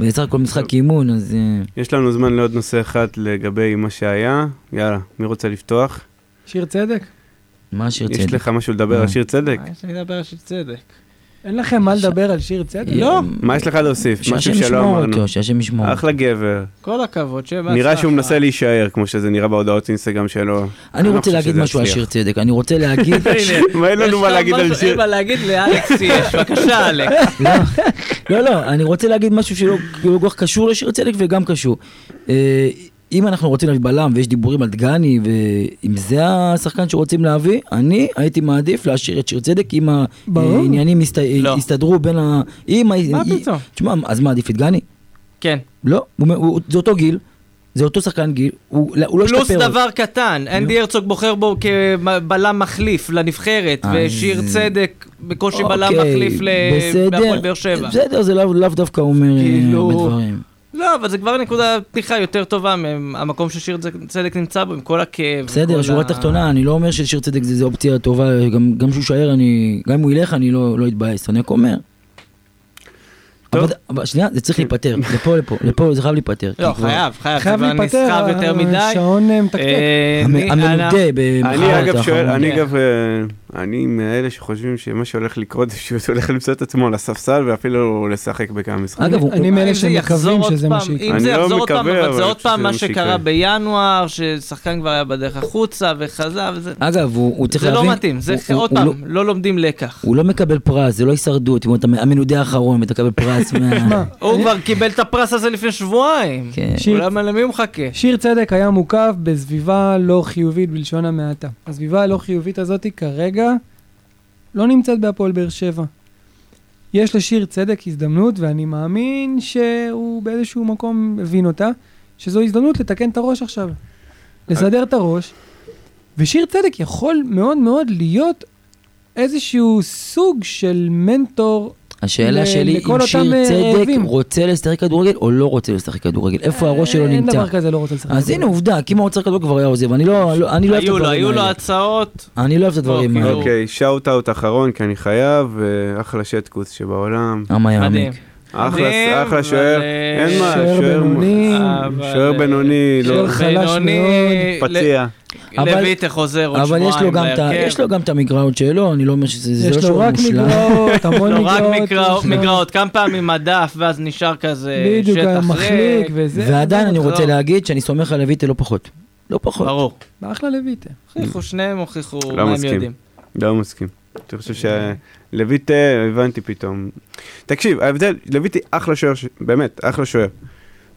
Speaker 4: וזה סך הכל משחק אימון, אז... אה,
Speaker 1: יש לנו זמן לעוד נושא אחד לגבי מה שהיה. יאללה, מי רוצה לפתוח?
Speaker 2: שיר צדק?
Speaker 4: מה שירצה.
Speaker 1: יש לך משהו לדבר על
Speaker 4: אה.
Speaker 1: שיר צדק?
Speaker 3: אה, יש לי לדבר של צדק.
Speaker 2: אין לכם מה לדבר על שיר צדק?
Speaker 4: לא.
Speaker 1: מה יש לך להוסיף? משהו
Speaker 4: שהשם
Speaker 1: שלא
Speaker 4: ישמור
Speaker 1: אמרנו.
Speaker 4: אותו, שהשם ישמור.
Speaker 1: אחלה גבר.
Speaker 3: כל הכבוד, שיהיה בהצלחה.
Speaker 1: נראה שהוא מנסה להישאר, כמו שזה נראה בהודעות אינסטגרם שלו. לא
Speaker 4: אני רוצה
Speaker 1: חושב
Speaker 4: להגיד
Speaker 1: שזה
Speaker 4: משהו על
Speaker 1: יצליח.
Speaker 4: שיר צדק, אני רוצה להגיד,
Speaker 3: הנה,
Speaker 1: מה, אין לנו
Speaker 3: יש
Speaker 1: מה
Speaker 3: לך
Speaker 1: להגיד על
Speaker 3: משהו-
Speaker 1: שיר.
Speaker 3: אין מה להגיד לאלכס יש, בבקשה אלכס.
Speaker 4: לא לא, אני רוצה להגיד משהו שלא לא כל כך קשור לשיר צדק וגם קשור. אה, אם אנחנו רוצים להביא בלם ויש דיבורים על דגני, ואם זה השחקן שרוצים להביא, אני הייתי מעדיף להשאיר את שיר צדק אם
Speaker 2: ברור.
Speaker 4: העניינים הסת-
Speaker 3: לא.
Speaker 4: הסתדרו בין ה... אם ה-
Speaker 3: מה
Speaker 4: היא-
Speaker 3: פתאום?
Speaker 4: תשמע, אז מה עדיף את דגני?
Speaker 3: כן.
Speaker 4: לא, הוא- הוא- זה אותו גיל, זה אותו שחקן גיל, הוא לא הוא לא
Speaker 3: פלוס
Speaker 4: השתפר. עוד.
Speaker 3: דבר קטן, אנדי הרצוג בוחר בו כבלם מחליף לנבחרת,
Speaker 2: אה,
Speaker 4: אז-
Speaker 3: ושיר צדק בקושי בלם
Speaker 4: אוקיי,
Speaker 3: מחליף ל-
Speaker 4: בסדר,
Speaker 3: להפועל באר שבע.
Speaker 4: בסדר, זה לאו לאו דווקא אומר אה,
Speaker 3: כאילו-
Speaker 4: הרבה דברים.
Speaker 3: לא, אבל זה כבר נקודה פתיחה יותר טובה מהמקום ששיר צדק נמצא בו, עם כל הכאב.
Speaker 4: בסדר,
Speaker 3: וכל
Speaker 4: שורה
Speaker 3: ה-
Speaker 4: תחתונה, אני לא אומר ששיר צדק זה זה אופציה טובה, גם- גם שהוא יישאר, אני- גם אם הוא ילך, אני לא לא אתבאס, אני רק אומר.
Speaker 1: טוב. כן.
Speaker 4: אבל- אבל שנייה, זה צריך להיפתר, לפה לפה, לפה זה חייב להיפתר.
Speaker 3: לא,
Speaker 4: כי כבר-
Speaker 3: חייב, חייב, זה
Speaker 2: חייב
Speaker 3: כבר
Speaker 2: להיפטר, אה,
Speaker 3: נסחב יותר מדי.
Speaker 2: השעון אה, מתקתק.
Speaker 3: אה,
Speaker 4: המ-
Speaker 3: אני-
Speaker 4: המנודה במחרת
Speaker 1: אני אגב שואל,
Speaker 4: האחרון.
Speaker 1: אני
Speaker 3: כן.
Speaker 1: אגב, אה, אני מאלה שחושבים שמה שהולך לקרות זה שהוא הולך למצוא את עצמו על הספסל ואפילו לשחק בכמה משחקים.
Speaker 4: אגב, הוא-
Speaker 2: אני
Speaker 3: אם
Speaker 2: מאלה
Speaker 3: זה יחזור
Speaker 2: שמקווים
Speaker 3: עוד
Speaker 2: שזה
Speaker 3: פעם,
Speaker 2: מה שיקרה.
Speaker 3: אם
Speaker 1: אני
Speaker 3: זה
Speaker 1: לא
Speaker 3: יחזור עוד פעם,
Speaker 1: מקווה,
Speaker 3: אבל
Speaker 1: אבל
Speaker 3: זה עוד
Speaker 1: אני חושב
Speaker 3: פעם
Speaker 1: שזה
Speaker 3: מה
Speaker 1: מה שיקרה.
Speaker 3: שקרה בינואר, ששחקן כבר היה בדרך החוצה וחזר, וזה...
Speaker 4: אגב, הוא הוא צריך
Speaker 3: זה
Speaker 4: להבין...
Speaker 3: לא מתאים, זה
Speaker 4: הוא-
Speaker 3: עוד
Speaker 4: הוא לא-
Speaker 3: פעם, לא לומדים לקח.
Speaker 4: הוא לא מקבל פרס, זה לא הישרדות, אם אתה המנודה האחרון ואתה מקבל פרס מה...
Speaker 3: הוא כבר קיבל את הפרס הזה לפני שבועיים.
Speaker 4: כן.
Speaker 2: שיר-
Speaker 3: אולי למי הוא מחכה?
Speaker 2: שיר צדק היה מוקף בסביבה לא חיובית בלשון המעטה. הסביבה הלא חיובית הזאת כרגע לא נמצאת בהפועל באר שבע. יש לשיר צדק הזדמנות, ואני מאמין שהוא באיזשהו מקום הבין אותה, שזו הזדמנות לתקן את הראש עכשיו. לסדר את הראש. ושיר צדק יכול מאוד מאוד להיות איזשהו סוג של מנטור. ל-
Speaker 4: השאלה שלי,
Speaker 2: לכל
Speaker 4: אם
Speaker 2: אותם,
Speaker 4: שיר
Speaker 2: אה,
Speaker 4: צדק
Speaker 2: רעבים.
Speaker 4: רוצה לשחק כדורגל או לא רוצה לשחק כדורגל? איפה הראש שלו
Speaker 2: אה, אין
Speaker 4: נמצא?
Speaker 2: דבר כזה, לא רוצה לשחק.
Speaker 4: אז הנה עובדה, כי אם הוא רוצה כדורגל כבר היה עוזב, אני לא לא- אני לא אוהב את
Speaker 3: היו לו,
Speaker 4: הדברים
Speaker 3: היו לו
Speaker 4: האלה.
Speaker 3: הצעות.
Speaker 4: אני לא אוהב את הדברים
Speaker 3: אוקיי.
Speaker 4: האלה.
Speaker 1: אוקיי, שאוט אאוט אחרון, כי אני חייב, אה, אחלה שטקוס שבעולם.
Speaker 4: למה
Speaker 3: מדהים.
Speaker 4: יעמיק?
Speaker 1: אחלה,
Speaker 3: מדהים,
Speaker 1: אחלה שוער,
Speaker 3: אבל,
Speaker 1: אין מה,
Speaker 2: שוער
Speaker 1: שוער
Speaker 2: בינוני.
Speaker 3: אבל,
Speaker 1: שוער
Speaker 3: אה,
Speaker 1: בינוני, לא-
Speaker 2: שוער חלש
Speaker 3: בינוני,
Speaker 2: מאוד.
Speaker 3: ל-
Speaker 1: פציע.
Speaker 4: אבל-
Speaker 3: לויטה חוזר עוד
Speaker 4: אבל
Speaker 3: שבועיים. כן.
Speaker 4: יש לו גם את ה-
Speaker 3: להרכב.
Speaker 4: יש לו גם את המגרעות שלו, אני לא אומר שזה זה לא
Speaker 2: יש לו
Speaker 4: שהוא
Speaker 2: רק
Speaker 4: מושלם.
Speaker 2: מגרעות, המון
Speaker 3: לא,
Speaker 2: מגרעות.
Speaker 3: רק
Speaker 2: יש
Speaker 3: מגרעות,
Speaker 2: לו-
Speaker 3: מגרעות, כמה פעמים הדף, ואז נשאר כזה
Speaker 2: בדיוק,
Speaker 3: שטח
Speaker 2: מחליק
Speaker 3: ריק.
Speaker 2: וזה.
Speaker 4: ועדיין אני רוצה
Speaker 3: לא.
Speaker 4: להגיד שאני סומך על לויטה לא פחות. לא פחות.
Speaker 3: ברור.
Speaker 2: אחלה לויטה.
Speaker 3: הוכיחו, שניהם הוכיחו
Speaker 1: לא
Speaker 3: מה הם
Speaker 1: מסכים.
Speaker 3: יודעים.
Speaker 1: לא מסכים. אני חושב
Speaker 3: אוקיי.
Speaker 1: שלויטה, הבנתי פתאום. תקשיב, ההבדל, לויטה אחלה שוער, ש- באמת, אחלה שוער.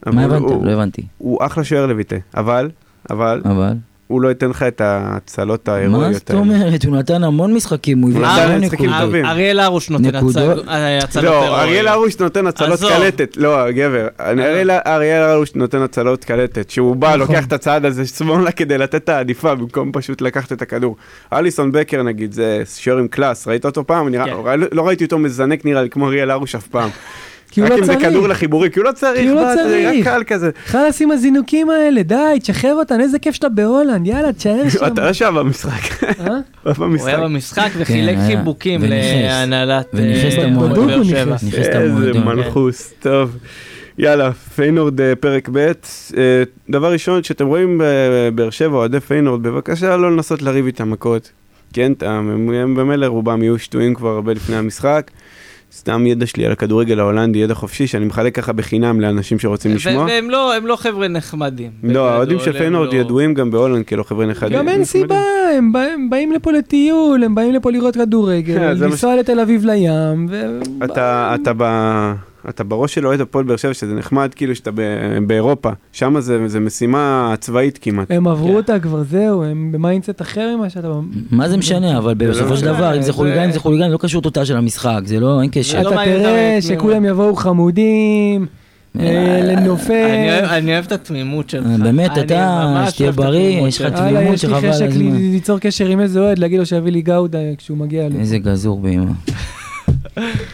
Speaker 4: מה
Speaker 1: אבל
Speaker 4: הבנתם?
Speaker 1: הוא-
Speaker 4: לא הבנתי.
Speaker 1: הוא אחלה שוער לויטה, אבל, אבל,
Speaker 4: אבל...
Speaker 1: הוא לא ייתן לך את ההצלות
Speaker 4: מה
Speaker 1: ההירואיות
Speaker 4: זאת
Speaker 1: האלה.
Speaker 4: אומרת? הוא נתן המון משחקים, הוא הביא
Speaker 1: נתן
Speaker 4: המון
Speaker 1: לא, משחקים
Speaker 4: נקודות.
Speaker 1: טובים.
Speaker 3: אה, אריאל הרוש נותן
Speaker 4: נקודות.
Speaker 3: הצל- אה, הצלות
Speaker 1: לא,
Speaker 3: הירואיות.
Speaker 1: אריאל הרוש נותן הצלות
Speaker 3: עזוב. אה.
Speaker 1: קלטת, לא, גבר, אני- אריאל- אריאל הרוש נותן הצלות קלטת, שהוא בא,
Speaker 2: נכון.
Speaker 1: לוקח את הצעד הזה שמאלה כדי לתת את העדיפה במקום פשוט לקחת את הכדור. אליסון בקר נגיד, זה שוער עם קלאס, ראית אותו פעם? נראה-
Speaker 3: כן.
Speaker 1: ראי- לא ראיתי אותו מזנק נראה לי כמו אריאל הרוש אף פעם.
Speaker 2: כי הוא לא
Speaker 1: רק אם זה כדור
Speaker 2: צריך.
Speaker 1: לחיבורי, כי הוא לא צריך,
Speaker 2: כי הוא לא
Speaker 1: מה, זה רק
Speaker 2: צריך.
Speaker 1: קל כזה.
Speaker 2: חלאס עם הזינוקים האלה, די, תשחרר אותנו, איזה כיף שאתה בהולנד, יאללה, תשאר שם.
Speaker 1: אתה ישב במשחק,
Speaker 2: אה?
Speaker 1: הוא היה
Speaker 3: הוא היה
Speaker 1: במשחק.
Speaker 3: במשחק וחילק
Speaker 4: כן, היה.
Speaker 3: חיבוקים
Speaker 4: וניכס.
Speaker 3: להנהלת אה,
Speaker 4: וניכס את המועדון.
Speaker 3: הפועל באר
Speaker 2: בדוק הוא
Speaker 3: שבע.
Speaker 2: נכנס.
Speaker 4: נכנס
Speaker 1: איזה
Speaker 4: למועדון. כן.
Speaker 1: מנחוס, טוב. יאללה, פיינורד אה, פרק ב'. אה, דבר ראשון, כשאתם רואים אה, באר שבע אוהדי פיינורד, בבקשה לא לנסות לריב איתם מכות. כן, כי אין טעם, הם- הם במילא רובם יהיו שטויים כבר הרבה לפני המשחק. סתם ידע שלי על הכדורגל ההולנדי, ידע חופשי, שאני מחלק ככה בחינם לאנשים שרוצים
Speaker 3: ו-
Speaker 1: לשמוע.
Speaker 3: והם לא- הם לא חבר'ה נחמדים.
Speaker 1: לא,
Speaker 3: בגדול,
Speaker 1: האוהדים
Speaker 3: הם
Speaker 1: של פיינורד
Speaker 3: לא-
Speaker 1: ידועים גם בהולנד כלא חבר'ה נכדים.
Speaker 2: גם אין סיבה, הם בא- הם באים לפה לטיול, הם באים לפה לראות
Speaker 1: כן,
Speaker 2: כדורגל,
Speaker 1: זה מה
Speaker 2: לנסוע לתל אביב לים, ו...
Speaker 1: אתה, אתה, ב, אתה בראש של אוהד הפועל באר שבע, שזה נחמד כאילו שאתה ב, באירופה, שם זה, זה משימה צבאית כמעט.
Speaker 2: הם
Speaker 3: כן.
Speaker 2: עברו אותה כבר, זהו, הם במיינדסט אחר ממה שאתה...
Speaker 4: מה זה
Speaker 1: לא
Speaker 4: משנה, אבל בסופו של
Speaker 3: משנה,
Speaker 4: דבר, אם
Speaker 3: זה-
Speaker 4: זה חוליגנים, זה חוליגנים, לא קשור תוצאה של המשחק, זה לא, אין קשר.
Speaker 2: אתה
Speaker 3: לא מעניין אותם
Speaker 2: תראה
Speaker 3: את מי
Speaker 2: שכולם יבואו חמודים, אה,
Speaker 3: אני
Speaker 2: לנופף,
Speaker 3: אוהב- אני אוהב את התמימות שלך.
Speaker 4: אה, באמת,
Speaker 3: אני
Speaker 4: אתה,
Speaker 3: ממש
Speaker 4: שתהיה
Speaker 3: אוהב את
Speaker 4: בריא,
Speaker 3: התמימות
Speaker 4: יש לך
Speaker 3: שלך.
Speaker 4: תמימות
Speaker 2: הלאה, יש לי
Speaker 4: שחבל על
Speaker 2: חשק
Speaker 4: הזמן.
Speaker 2: לי ליצור קשר עם איזה אוהד, להגיד לו שיביא לי גאודה כשהוא מגיע לי.
Speaker 4: איזה גזור באמא.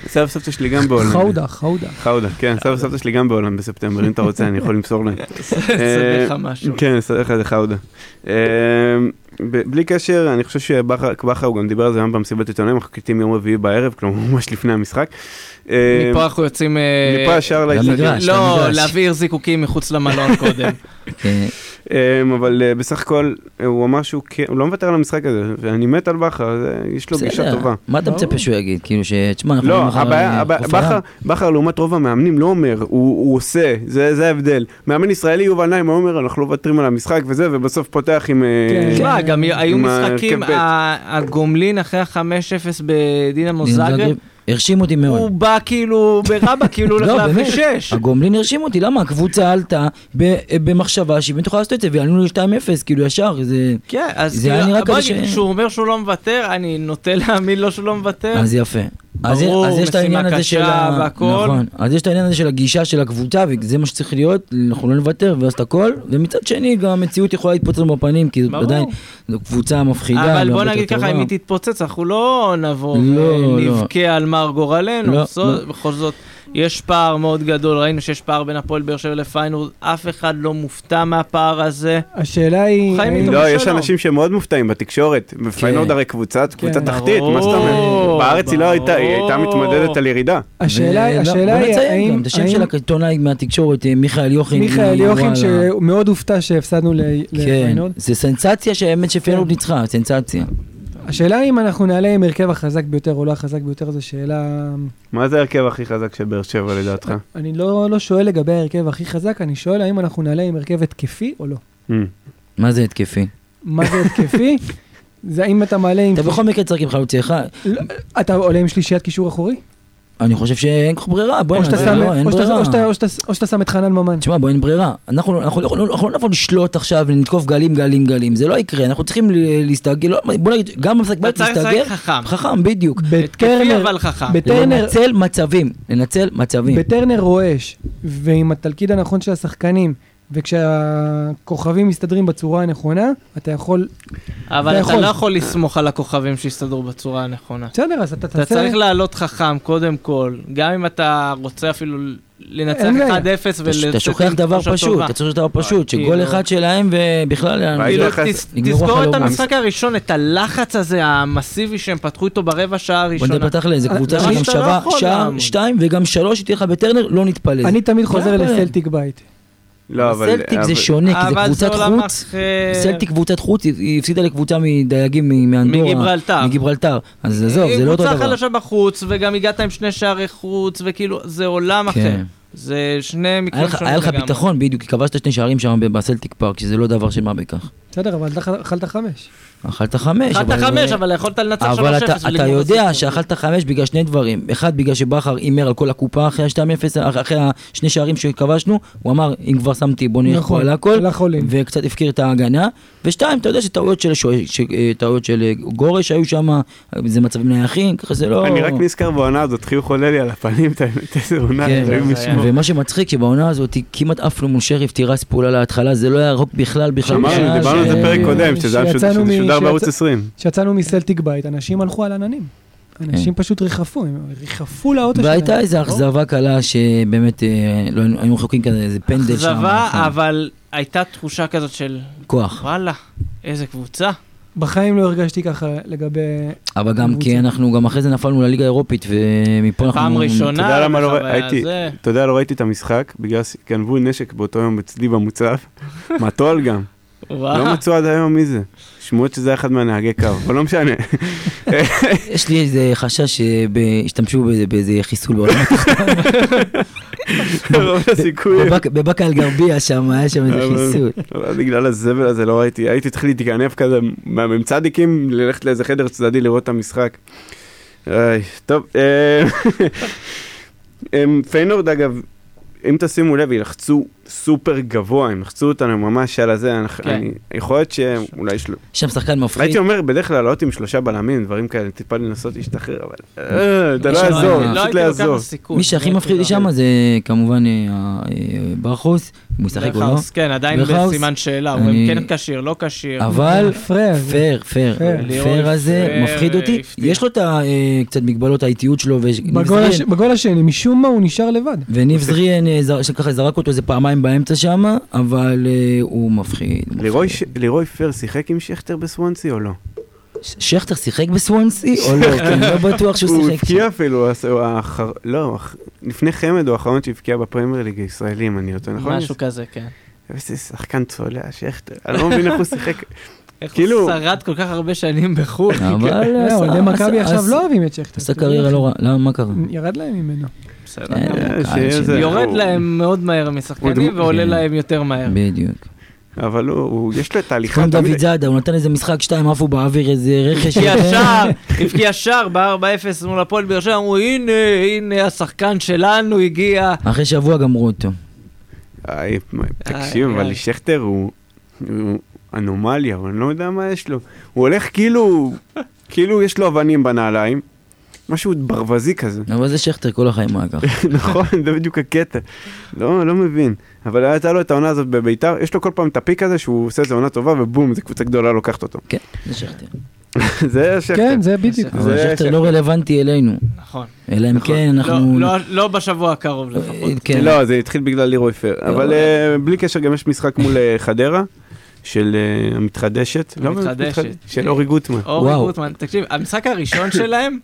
Speaker 1: סבא סבתא שלי גם בהולנד.
Speaker 2: חאודה, חאודה.
Speaker 1: חאודה, כן, סבא סבתא שלי גם בהולנד בספטמבר, אם אתה רוצה אני יכול למסור להם.
Speaker 3: אסדר לך משהו.
Speaker 1: כן, אסדר לך איזה חאודה. אה, ב- בלי קשר, אני חושב שבכר בכר, הוא גם דיבר על זה היום במסיבת עיתונאים, אנחנו קטעים יום רביעי בערב, כלומר ממש לפני המשחק. אה,
Speaker 3: מפה אנחנו יוצאים... אה,
Speaker 1: מפה ישר
Speaker 4: למגרש.
Speaker 1: לאצטדיון.
Speaker 4: ממש,
Speaker 3: לא,
Speaker 4: למגרש.
Speaker 3: להבעיר זיקוקים מחוץ למלון קודם.
Speaker 4: אה,
Speaker 1: אמ, אבל אה, בסך הכל אה, הוא אמר שהוא כן- הוא לא מוותר על המשחק הזה, ואני מת על בכר, זה- יש לו גישה
Speaker 4: אה, בסדר,
Speaker 1: טובה.
Speaker 4: מה אתה מצפה
Speaker 2: ברור.
Speaker 4: שהוא יגיד? כאילו ש... תשמע, אנחנו אה,
Speaker 1: לא,
Speaker 4: הולכים מחר
Speaker 1: הבעיה, הבע-
Speaker 4: להופעה.
Speaker 1: בכר- בכר לעומת רוב המאמנים לא אומר, הוא הוא עושה, זה זה ההבדל. מאמן ישראלי יובל נעים היה אומר, אנחנו לא מוותרים על המשחק וזה, ובסוף פותח עם... אה,
Speaker 2: כן.
Speaker 3: תשמע, גם היו
Speaker 1: עם ההרכב
Speaker 3: משחקים,
Speaker 1: ב'.
Speaker 3: ה- הגומלין אחרי ה-5-0 בדינמו
Speaker 4: דין
Speaker 3: זאגרב,
Speaker 4: זאגרב. הרשים לא אותי
Speaker 3: הוא
Speaker 4: מאוד.
Speaker 3: בא כאילו ברבא, כאילו הולך
Speaker 4: לא,
Speaker 3: להביא
Speaker 4: באמת.
Speaker 3: 6.
Speaker 4: הגומלין הרשים אותי, למה? הקבוצה עלתה ב- במחשבה שהיא באמת יכולה לעשות את זה, ועלינו ל-2-0, כאילו ישר, זה...
Speaker 3: כן, אז
Speaker 4: זה היה
Speaker 3: כאילו,
Speaker 4: נראה
Speaker 3: בוא
Speaker 4: כזה
Speaker 3: נגיד,
Speaker 4: ש-
Speaker 3: כשהוא אומר שהוא לא מוותר, אני נוטה להאמין לו שהוא לא מוותר.
Speaker 4: אז יפה. אז,
Speaker 3: ברור,
Speaker 4: אז יש את
Speaker 3: משימה
Speaker 4: העניין הזה
Speaker 3: קשה
Speaker 4: של ה...
Speaker 3: והכל.
Speaker 4: נכון. אז יש את העניין הזה של הגישה של הקבוצה, וזה מה שצריך להיות, אנחנו לא נוותר, ואז את הכל. ומצד שני, גם המציאות יכולה להתפוצץ לנו בפנים, כי זאת
Speaker 3: ברור.
Speaker 4: עדיין זו קבוצה מפחידה. לא
Speaker 3: אבל
Speaker 4: והרבה
Speaker 3: בוא
Speaker 4: יותר
Speaker 3: נגיד ככה,
Speaker 4: טובה.
Speaker 3: אם היא תתפוצץ, אנחנו לא נבוא
Speaker 4: לא,
Speaker 3: ונבכה על מר גורלנו.
Speaker 4: לא,
Speaker 3: בסוד-
Speaker 4: לא.
Speaker 3: בכל זאת, יש פער מאוד גדול, ראינו שיש פער בין הפועל באר שבע לפיינורד, אף אחד לא מופתע מהפער הזה.
Speaker 2: השאלה היא... אה,
Speaker 3: חיים
Speaker 2: האם-
Speaker 3: איתו.
Speaker 1: לא, יש
Speaker 3: שלום.
Speaker 1: אנשים שמאוד מופתעים בתקשורת. בפיינורד הרי קבוצה, קבוצה
Speaker 2: כן.
Speaker 1: תחתית, מה זאת אומרת?
Speaker 3: ברור,
Speaker 1: בארץ היא לא הייתה, היא הייתה
Speaker 3: ברור.
Speaker 1: מתמודדת על ירידה.
Speaker 2: השאלה
Speaker 4: ולא,
Speaker 2: השאלה
Speaker 4: לא, בוא
Speaker 2: היא
Speaker 4: נציין
Speaker 2: האם...
Speaker 4: גם את השם
Speaker 2: האם
Speaker 4: של העיתונאי מהתקשורת, אה, מיכאל יוכין.
Speaker 2: מיכאל
Speaker 4: אה,
Speaker 2: יוכין,
Speaker 4: וואלה.
Speaker 2: שמאוד הופתע שהפסדנו ל-
Speaker 4: כן,
Speaker 2: לפיינורד.
Speaker 4: זה סנסציה שהאמת
Speaker 2: כן.
Speaker 4: שפיינורד ניצחה, סנסציה.
Speaker 2: השאלה אם אנחנו נעלה עם הרכב החזק ביותר או לא החזק ביותר, זו שאלה...
Speaker 1: מה זה ההרכב הכי חזק של באר שבע לדעתך?
Speaker 2: אני לא לא שואל לגבי ההרכב הכי חזק, אני שואל האם אנחנו נעלה עם הרכב התקפי או לא.
Speaker 1: אמ.
Speaker 4: מה זה התקפי?
Speaker 2: מה זה התקפי? זה האם אתה מעלה עם...
Speaker 4: אתה בכל מקרה צריך עם חלוצי אחד,
Speaker 2: לא, אתה עולה עם שלישיית קישור אחורי?
Speaker 4: אני חושב שאין לך ברירה, בוא,
Speaker 2: או שאתה
Speaker 4: זה
Speaker 2: שם-
Speaker 4: לא, אין
Speaker 2: או שאתה-
Speaker 4: ברירה.
Speaker 2: או שאתה- או שאתה- או שאתה שם את חנן ממן?
Speaker 4: תשמע, בוא, אין ברירה. אנחנו אנחנו לא יכולים- אנחנו לא נבוא לשלוט עכשיו ולתקוף גלים, גלים, גלים. זה לא יקרה, אנחנו צריכים ל- להסתגר, לא, בוא נגיד, גם במשחק
Speaker 3: אתה
Speaker 4: בית
Speaker 3: צריך לשחק
Speaker 4: להסתגר,
Speaker 3: חכם.
Speaker 4: חכם, בדיוק.
Speaker 3: התקפי
Speaker 2: בטרנר,
Speaker 3: אבל חכם.
Speaker 2: בטרנר,
Speaker 4: לנצל מצבים, לנצל מצבים.
Speaker 2: בטרנר רועש, ועם התלכיד הנכון של השחקנים, וכשהכוכבים מסתדרים בצורה הנכונה, אתה יכול
Speaker 3: אבל אתה
Speaker 4: נכון.
Speaker 2: יכול.
Speaker 3: לא יכול לסמוך על הכוכבים שיסתדרו בצורה הנכונה.
Speaker 2: בסדר, אז אתה
Speaker 3: אתה
Speaker 2: תעשה...
Speaker 3: צריך לעלות חכם, קודם כל. גם אם אתה רוצה אפילו לנצח
Speaker 2: אין בעיה.
Speaker 3: 1-0
Speaker 4: אתה ש-
Speaker 3: ול...
Speaker 4: אתה שוכח דבר פשוט, אתה שוכח דבר פשוט, שגול
Speaker 3: כאילו-
Speaker 4: אחד שלהם ובכלל... אה,
Speaker 1: ראיתי
Speaker 3: כאילו,
Speaker 1: לך-
Speaker 3: תז-
Speaker 4: נגמרו
Speaker 3: תזכור את
Speaker 4: החלומות.
Speaker 3: המשחק הראשון, את הלחץ הזה, המסיבי שהם פתחו איתו ברבע שעה
Speaker 4: בוא
Speaker 3: הראשונה.
Speaker 4: נדבר פתח לאיזה
Speaker 2: אה,
Speaker 4: קבוצה
Speaker 2: זה
Speaker 3: מה
Speaker 4: שגם
Speaker 3: שאתה
Speaker 4: שווה
Speaker 3: לא יכול
Speaker 4: שעה,
Speaker 3: לעמוד.
Speaker 4: שתיים וגם שלוש שתהיה לך בטרנר, לא נתפלא.
Speaker 2: אני תמיד חוזר
Speaker 4: בעיה.
Speaker 2: לסלטיק בית.
Speaker 1: לא, אבל...
Speaker 4: סלטיק
Speaker 1: אבל-
Speaker 4: זה שונה, כי זה
Speaker 3: אבל זה
Speaker 4: קבוצת
Speaker 3: עולם
Speaker 4: חוץ.
Speaker 3: אחר.
Speaker 4: סלטיק קבוצת חוץ, היא- היא הפסידה לקבוצה מדייגים מ- מאנדורה.
Speaker 3: מגיברלטר.
Speaker 4: מגיברלטר. אז עזוב, זה לא אותו
Speaker 3: קבוצה
Speaker 4: דבר.
Speaker 3: חלשה בחוץ, וגם הגעת עם שני שערי חוץ, וכאילו, זה עולם אחר.
Speaker 4: כן.
Speaker 3: זה שני
Speaker 4: היה
Speaker 3: מקרים
Speaker 4: לך-
Speaker 3: שונים
Speaker 4: היה לך
Speaker 3: לגמרי.
Speaker 4: ביטחון בדיוק, כי כבשת שני שערים שם ב- בסלטיק פארק, שזה לא דבר של מה בכך.
Speaker 2: בסדר, אבל אתה אכלת חמש.
Speaker 4: אכלת חמש,
Speaker 3: אחת החמש, אבל יכולת לנצח 3-0.
Speaker 4: אבל אתה, אתה
Speaker 3: ולגמור את
Speaker 4: יודע
Speaker 3: הסיפור.
Speaker 4: שאכלת חמש בגלל שני דברים. אחד, בגלל שבכר הימר על כל הקופה אחרי ה-2-0, אח- אחרי השני שערים שכבשנו, הוא אמר, אם כבר שמתי, בוא נלך פה על הכל,
Speaker 2: נכון, על החולים.
Speaker 4: וקצת הפקיר את ההגנה. ושתיים, אתה יודע שטעויות של, שוער- ש- אה, טעויות של אה, גורש היו שם, זה מצבים נייחים, ככה זה לא...
Speaker 1: אני רק נזכר בעונה הזאת, חיוך עולה לי על הפנים, את האמת, איזה עונה,
Speaker 4: כן,
Speaker 1: אלוהים
Speaker 3: זה
Speaker 1: ישמור.
Speaker 4: ומה שמצחיק, שבעונה הזאת כמעט עפנו מול שריף תירס פעולה להתחלה, זה לא היה רחוק בכלל בכלל. כן,
Speaker 1: אמרנו,
Speaker 2: שנה
Speaker 1: דיברנו על זה
Speaker 2: ש-
Speaker 1: פרק קודם, שזה היה
Speaker 2: שיצאנו
Speaker 1: שזה
Speaker 2: מ-
Speaker 1: שודר
Speaker 2: שיצא-
Speaker 1: בערוץ 20.
Speaker 2: כשיצאנו מסלטיק בית, אנשים הלכו על עננים. אנשים פשוט ריחפו, הם ריחפו לאוטו שלהם.
Speaker 4: כן. והייתה איזו אכזבה קלה שבאמת, אה, לא היינו- היינו רחוקים כזה, איזה פנדל שם.
Speaker 3: אכזבה,
Speaker 4: אה,
Speaker 3: אבל הייתה תחושה כזאת של,
Speaker 4: כוח.
Speaker 3: וואלה, איזה קבוצה.
Speaker 2: בחיים לא הרגשתי ככה לגבי...
Speaker 4: אבל גם
Speaker 2: קבוצה.
Speaker 4: כי אנחנו גם אחרי זה נפלנו לליגה האירופית ומפה אנחנו...
Speaker 3: פעם ראשונה.
Speaker 1: אתה יודע למה לא
Speaker 3: בחוויה
Speaker 1: ראיתי-
Speaker 3: הזה.
Speaker 1: אתה יודע, לא ראיתי את המשחק, בגלל שגנבו נשק באותו יום אצלי במוצב. מהטול גם.
Speaker 3: וואו.
Speaker 1: לא מצאו עד היום מי זה. שמועות שזה היה אחד מהנהגי קו, אבל לא משנה.
Speaker 4: יש לי איזה חשש שהשתמשו באיזה חיסול בעולם.
Speaker 1: רוב הסיכויים.
Speaker 4: בבאק- בבאקה אל גרבייה שם, היה שם איזה
Speaker 1: אבל-
Speaker 4: חיסול.
Speaker 1: אבל בגלל הזבל הזה לא ראיתי, הייתי צריך להתגנב כזה מהממצדיקים, ללכת לאיזה חדר צדדי לראות את המשחק. איי, טוב, אה, אמ, פיינורד אגב, אם תשימו לב, ילחצו סופר גבוה, הם לחצו אותנו ממש על הזה, אנחנו-
Speaker 3: כן.
Speaker 1: אני- יכול להיות שאולי יש לו...
Speaker 4: יש שם שחקן מפחיד.
Speaker 1: הייתי אומר, בדרך כלל לעלות עם שלושה בלמים, דברים כאלה, טיפה לנסות להשתחרר, אבל... אה, זה לא
Speaker 4: יש לו-
Speaker 1: יעזור, פשוט
Speaker 4: לא
Speaker 3: הייתי
Speaker 1: לא
Speaker 3: לוקח את
Speaker 1: יעזור.
Speaker 3: הסיכון.
Speaker 4: מי שהכי
Speaker 3: לא
Speaker 4: מפחיד לי
Speaker 3: הייתי
Speaker 4: שם זה כמובן אה, אה, ברכוס, אם הוא
Speaker 3: לוקח.
Speaker 4: ישחק או לא.
Speaker 3: ברכהאוס, כן, עדיין
Speaker 4: ברכהאוס,
Speaker 3: בסימן שאלה, הוא
Speaker 4: אני-
Speaker 3: כן כשיר, לא כשיר.
Speaker 4: אבל
Speaker 2: פרייר.
Speaker 4: פייר, פייר,
Speaker 2: פייר.
Speaker 4: פייר הזה
Speaker 3: פייר,
Speaker 4: מפחיד אותי.
Speaker 3: הפתיע.
Speaker 4: יש לו את ה- אה, קצת מגבלות האיטיות שלו. ויש-
Speaker 2: בגול הש- בגול השני, משום מה הוא נשאר לבד.
Speaker 4: וניב זריאן אה, זר- שככה זרק אותו איזה פעמיים באמצע שם, אבל אה, הוא מפחיד. הוא
Speaker 1: לירוי
Speaker 4: מפחיד.
Speaker 1: ש- לירוי פר שיחק עם שכטר בסוונסי או לא?
Speaker 4: ש- שכטר שיחק בסוונסי או לא? כי אני לא בטוח שהוא שיחק.
Speaker 1: הוא הבקיע אפילו, אז הוא האחר... לא, אח- לפני חמד הוא האחרון שהבקיע בפרמייר ליג הישראלי, אם אני אותו נכון?
Speaker 3: משהו כזה, כן.
Speaker 1: איזה שחקן צולע, שכטר. אני לא מבין איך הוא שיחק.
Speaker 3: איך
Speaker 1: כאילו-
Speaker 3: הוא שרד כל כך הרבה שנים בחו"ל. כן,
Speaker 4: אבל
Speaker 2: לא,
Speaker 4: עשה-
Speaker 2: אוהדי מכבי
Speaker 4: עשה-
Speaker 2: עכשיו
Speaker 4: עשה-
Speaker 2: לא אוהבים את שכטר.
Speaker 4: עשה קריירה לא רע, למה מה קרה?
Speaker 2: ירד להם ממנו.
Speaker 3: בסדר.
Speaker 4: אה,
Speaker 1: אה,
Speaker 4: קהל
Speaker 1: שיהיה
Speaker 4: שלי.
Speaker 1: זה-
Speaker 3: יורד
Speaker 1: הוא-
Speaker 3: להם מאוד מהר משחקנים
Speaker 1: הוא-
Speaker 3: ועולה
Speaker 4: כן.
Speaker 3: להם יותר מהר.
Speaker 4: בדיוק.
Speaker 1: אבל הוא- הוא, יש לו את ההליכה.
Speaker 4: גם
Speaker 1: תמיד-
Speaker 4: דוד זאדה, הוא נתן איזה משחק שתיים, עפו באוויר איזה רכש.
Speaker 3: הבקיע שער, הבקיע שער ב-4-0 מול הפועל באר שבע, אמרו הנה, הנה השחקן שלנו הגיע.
Speaker 4: אחרי שבוע גמרו אותו.
Speaker 1: איי, מה, תקשיב,
Speaker 3: איי,
Speaker 1: אבל
Speaker 3: איי.
Speaker 1: שכטר הוא הוא אנומליה, אבל אני לא יודע מה יש לו. הוא הולך כאילו, כאילו יש לו אבנים בנעליים. משהו ברווזי כזה,
Speaker 4: אבל זה שכטר כל החיים היה ככה.
Speaker 1: נכון, זה בדיוק הקטע. לא, לא מבין. אבל הייתה לו את העונה הזאת בביתר, יש לו כל פעם את הפיק הזה שהוא עושה איזה עונה טובה ובום, איזה קבוצה גדולה לוקחת אותו.
Speaker 4: זה שכטר.
Speaker 1: זה שכטר.
Speaker 2: כן, זה בדיוק.
Speaker 4: אבל
Speaker 1: זה
Speaker 4: שכטר
Speaker 1: שכטר.
Speaker 4: לא רלוונטי אלינו.
Speaker 3: נכון.
Speaker 4: אלא אם
Speaker 1: נכון.
Speaker 4: כן אנחנו...
Speaker 3: לא- לא- לא בשבוע הקרוב לפחות.
Speaker 4: אה, כן.
Speaker 1: לא, זה התחיל בגלל לירוי פר. אבל אה, בלי קשר, גם יש משחק מול אה, חדרה, של אה, המתחדשת. לא,
Speaker 3: המתחדשת.
Speaker 1: המתחד- של אורי גוטמן.
Speaker 3: אורי
Speaker 4: וואו.
Speaker 3: גוטמן, תקשיב, המשחק הראשון שלהם,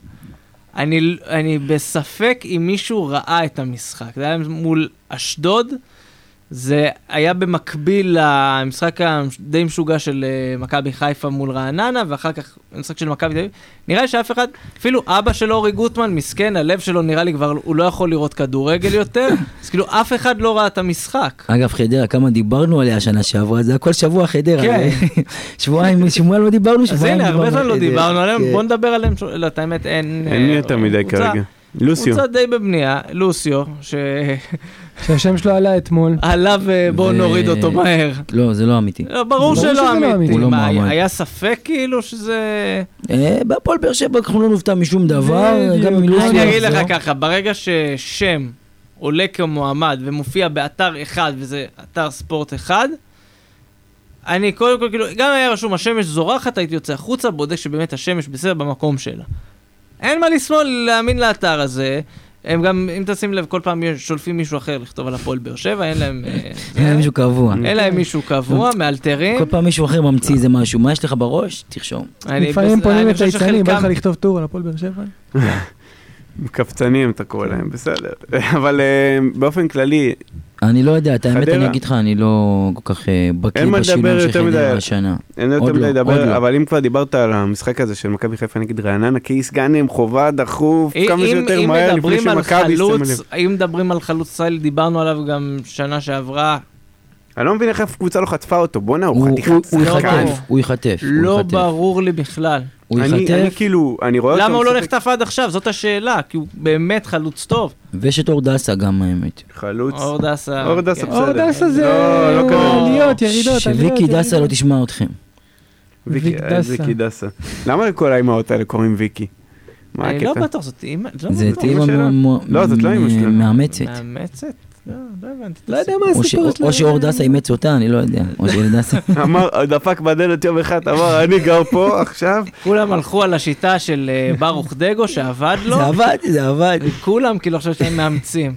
Speaker 3: אני, אני בספק אם מישהו ראה את המשחק. זה היה מול אשדוד, זה היה במקביל למשחק הדי משוגע של אה, מכבי חיפה מול רעננה, ואחר כך המשחק של מכבי תל אביב. נראה לי שאף אחד, אפילו אבא של אורי גוטמן, מסכן, הלב שלו נראה לי כבר, הוא לא יכול לראות כדורגל יותר, אז כאילו אף אחד לא ראה את המשחק.
Speaker 4: אגב, חדרה, כמה דיברנו עליה שנה שעברה, זה היה כל שבוע חדרה.
Speaker 3: כן.
Speaker 4: שבועיים, שבועיים לא דיברנו,
Speaker 3: אז
Speaker 4: שבועיים
Speaker 3: הנה, הרבה זמן
Speaker 4: על
Speaker 3: לא
Speaker 4: חדרה.
Speaker 3: דיברנו עליהם,
Speaker 4: כן.
Speaker 3: בוא נדבר עליהם, ש- לא, את האמת, אין...
Speaker 1: אין
Speaker 3: אה,
Speaker 1: לי יותר מדי
Speaker 3: קבוצה.
Speaker 1: כרגע. לוסיו.
Speaker 3: קבוצה די בבנייה, לוסיו, שעלה
Speaker 2: שהשם שלו עלה אתמול.
Speaker 3: ובואו
Speaker 4: ו-
Speaker 3: נורית אה, אותו מהר.
Speaker 4: לא, זה לא אמיתי.
Speaker 3: לא, ברור שלא
Speaker 2: שזה לא
Speaker 3: אמיתי.
Speaker 2: אמיתי.
Speaker 4: הוא לא
Speaker 3: מה,
Speaker 4: מועמד.
Speaker 3: היה ספק כאילו שזה...
Speaker 4: אה, בהפועל באר שבע אנחנו לא נופתע משום דבר,
Speaker 2: בדיוק.
Speaker 4: גם אם לא לוסי
Speaker 3: אני אגיד
Speaker 4: יחזור.
Speaker 3: לך ככה, ברגע ששם עולה כמועמד ומופיע באתר אחד, וזה אתר ספורט אחד, אני קודם כל, כאילו, גם היה רשום, השמש זורחת, הייתי יוצא החוצה, בודק שבאמת השמש בסדר במקום שלה. אין מה לשמאל להאמין לאתר הזה. הם גם, אם תשים לב, כל פעם יש- שולפים מישהו אחר לכתוב על הפועל באר שבע, אין להם... אה,
Speaker 4: אין להם מישהו כן, קבוע.
Speaker 3: אין להם מישהו קבוע, מאלתרים.
Speaker 4: כל פעם מישהו אחר ממציא איזה משהו, מה יש לך בראש? תרשום.
Speaker 3: אני-
Speaker 2: לפעמים
Speaker 3: אני
Speaker 2: פונים
Speaker 3: חושב
Speaker 2: לצייצנים, בא לך
Speaker 3: שחלקם-
Speaker 2: לכתוב טור על הפועל באר שבע?
Speaker 1: קפצנים אתה קורא להם, בסדר. אבל אה, באופן כללי,
Speaker 4: אני לא יודע, את האמת
Speaker 1: חדרה.
Speaker 4: אני אגיד לך, אני לא כל כך אה, בקיא
Speaker 1: אין מה
Speaker 4: בשילוב
Speaker 1: לדבר
Speaker 4: של
Speaker 1: יותר מדי.
Speaker 4: חדרה השנה.
Speaker 1: אין
Speaker 4: עוד
Speaker 1: יותר
Speaker 4: לא,
Speaker 1: מדי
Speaker 4: עוד
Speaker 1: לדבר,
Speaker 4: לא.
Speaker 1: אבל אם כבר דיברת על המשחק הזה של מכבי חיפה נגד רעננה, קייס גאנם, חובה, דחוף,
Speaker 3: אם-
Speaker 1: כמה
Speaker 3: אם-
Speaker 1: שיותר
Speaker 3: אם
Speaker 1: מהר לפני
Speaker 3: מדברים על
Speaker 1: שמכבי
Speaker 3: חלוץ-
Speaker 1: יסתמלו.
Speaker 3: אם מדברים על חלוץ ישראלי, דיברנו עליו גם שנה שעברה,
Speaker 1: אני לא מבין איך אף קבוצה לא חטפה אותו, בואנה,
Speaker 4: הוא
Speaker 1: הוא חתיכת
Speaker 4: הוא- הוא
Speaker 3: שחקן.
Speaker 4: ייחטף, הוא ייחטף. הוא
Speaker 3: לא
Speaker 4: ייחטף.
Speaker 3: ברור לי בכלל.
Speaker 4: הוא
Speaker 1: אני- אני
Speaker 4: ייחטף,
Speaker 1: כאילו, אני רואה אותו...
Speaker 3: למה הוא לא
Speaker 1: משחק-
Speaker 3: נחטף עד עכשיו? זאת השאלה, כי הוא באמת חלוץ טוב.
Speaker 4: ויש את אור דסה גם האמת.
Speaker 1: חלוץ.
Speaker 3: אור דסה.
Speaker 1: אור דסה,
Speaker 3: כן.
Speaker 1: בסדר.
Speaker 2: אור דסה זה
Speaker 1: לא, לא כזה.
Speaker 2: עליות, ירידות, עליות.
Speaker 4: שוויקי דסה לא
Speaker 2: ירידות.
Speaker 4: תשמע אתכם.
Speaker 1: ויקי
Speaker 2: ויק
Speaker 1: אה,
Speaker 2: דסה.
Speaker 1: ויקי דסה. למה לכל האימהות האלה קוראים ויקי? מה
Speaker 3: אני לא
Speaker 1: הקטע?
Speaker 3: בטוח, זאת אימא, לא
Speaker 4: זה
Speaker 1: בטוח,
Speaker 4: תהיה
Speaker 1: מה השאלה? לא, זאת לא אמא שלנו.
Speaker 4: מאמצת.
Speaker 3: מאמצת? לא, לא הבנתי.
Speaker 2: לא יודע מה
Speaker 4: או ש-
Speaker 2: הסיפור שלו.
Speaker 4: או שאור דסה אימץ אותה, אני לא יודע. או שאור דסה.
Speaker 1: אמר, דפק בדלת יום אחד, אמר, אני גר פה עכשיו.
Speaker 3: כולם הלכו על השיטה של אה, ברוך דגו שעבד לו,
Speaker 4: זה עבד, זה עבד.
Speaker 3: וכולם כאילו עכשיו שהם מאמצים.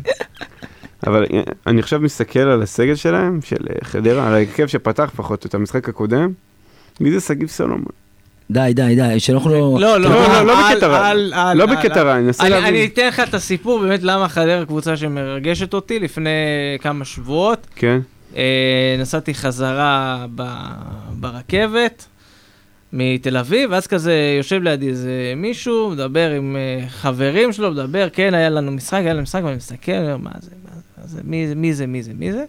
Speaker 1: אבל אה, אני עכשיו מסתכל על הסגל שלהם, של אה, חדרה, על ההרכב שפתח פחות את המשחק הקודם. מי זה שגיב סולומון?
Speaker 4: די, די, די, שאנחנו לא...
Speaker 3: לא,
Speaker 1: לא,
Speaker 3: לא,
Speaker 1: לא, לא
Speaker 3: על-
Speaker 1: בקטע רע.
Speaker 3: על- על-
Speaker 1: לא
Speaker 3: על-
Speaker 1: בקטע רע, אני מנסה
Speaker 3: אני-
Speaker 1: להבין.
Speaker 3: אני אתן לך את הסיפור באמת למה חדרה קבוצה שמרגשת אותי לפני כמה שבועות.
Speaker 1: כן.
Speaker 3: אה, נסעתי חזרה ב, ברכבת מתל אביב, ואז כזה יושב לידי איזה מישהו, מדבר עם אה, חברים שלו, מדבר, כן, היה לנו משחק, היה לנו משחק, ואני מסתכל, אני אומר, מה זה, מה זה, מה זה, מי זה, מי זה, מי זה, מי זה?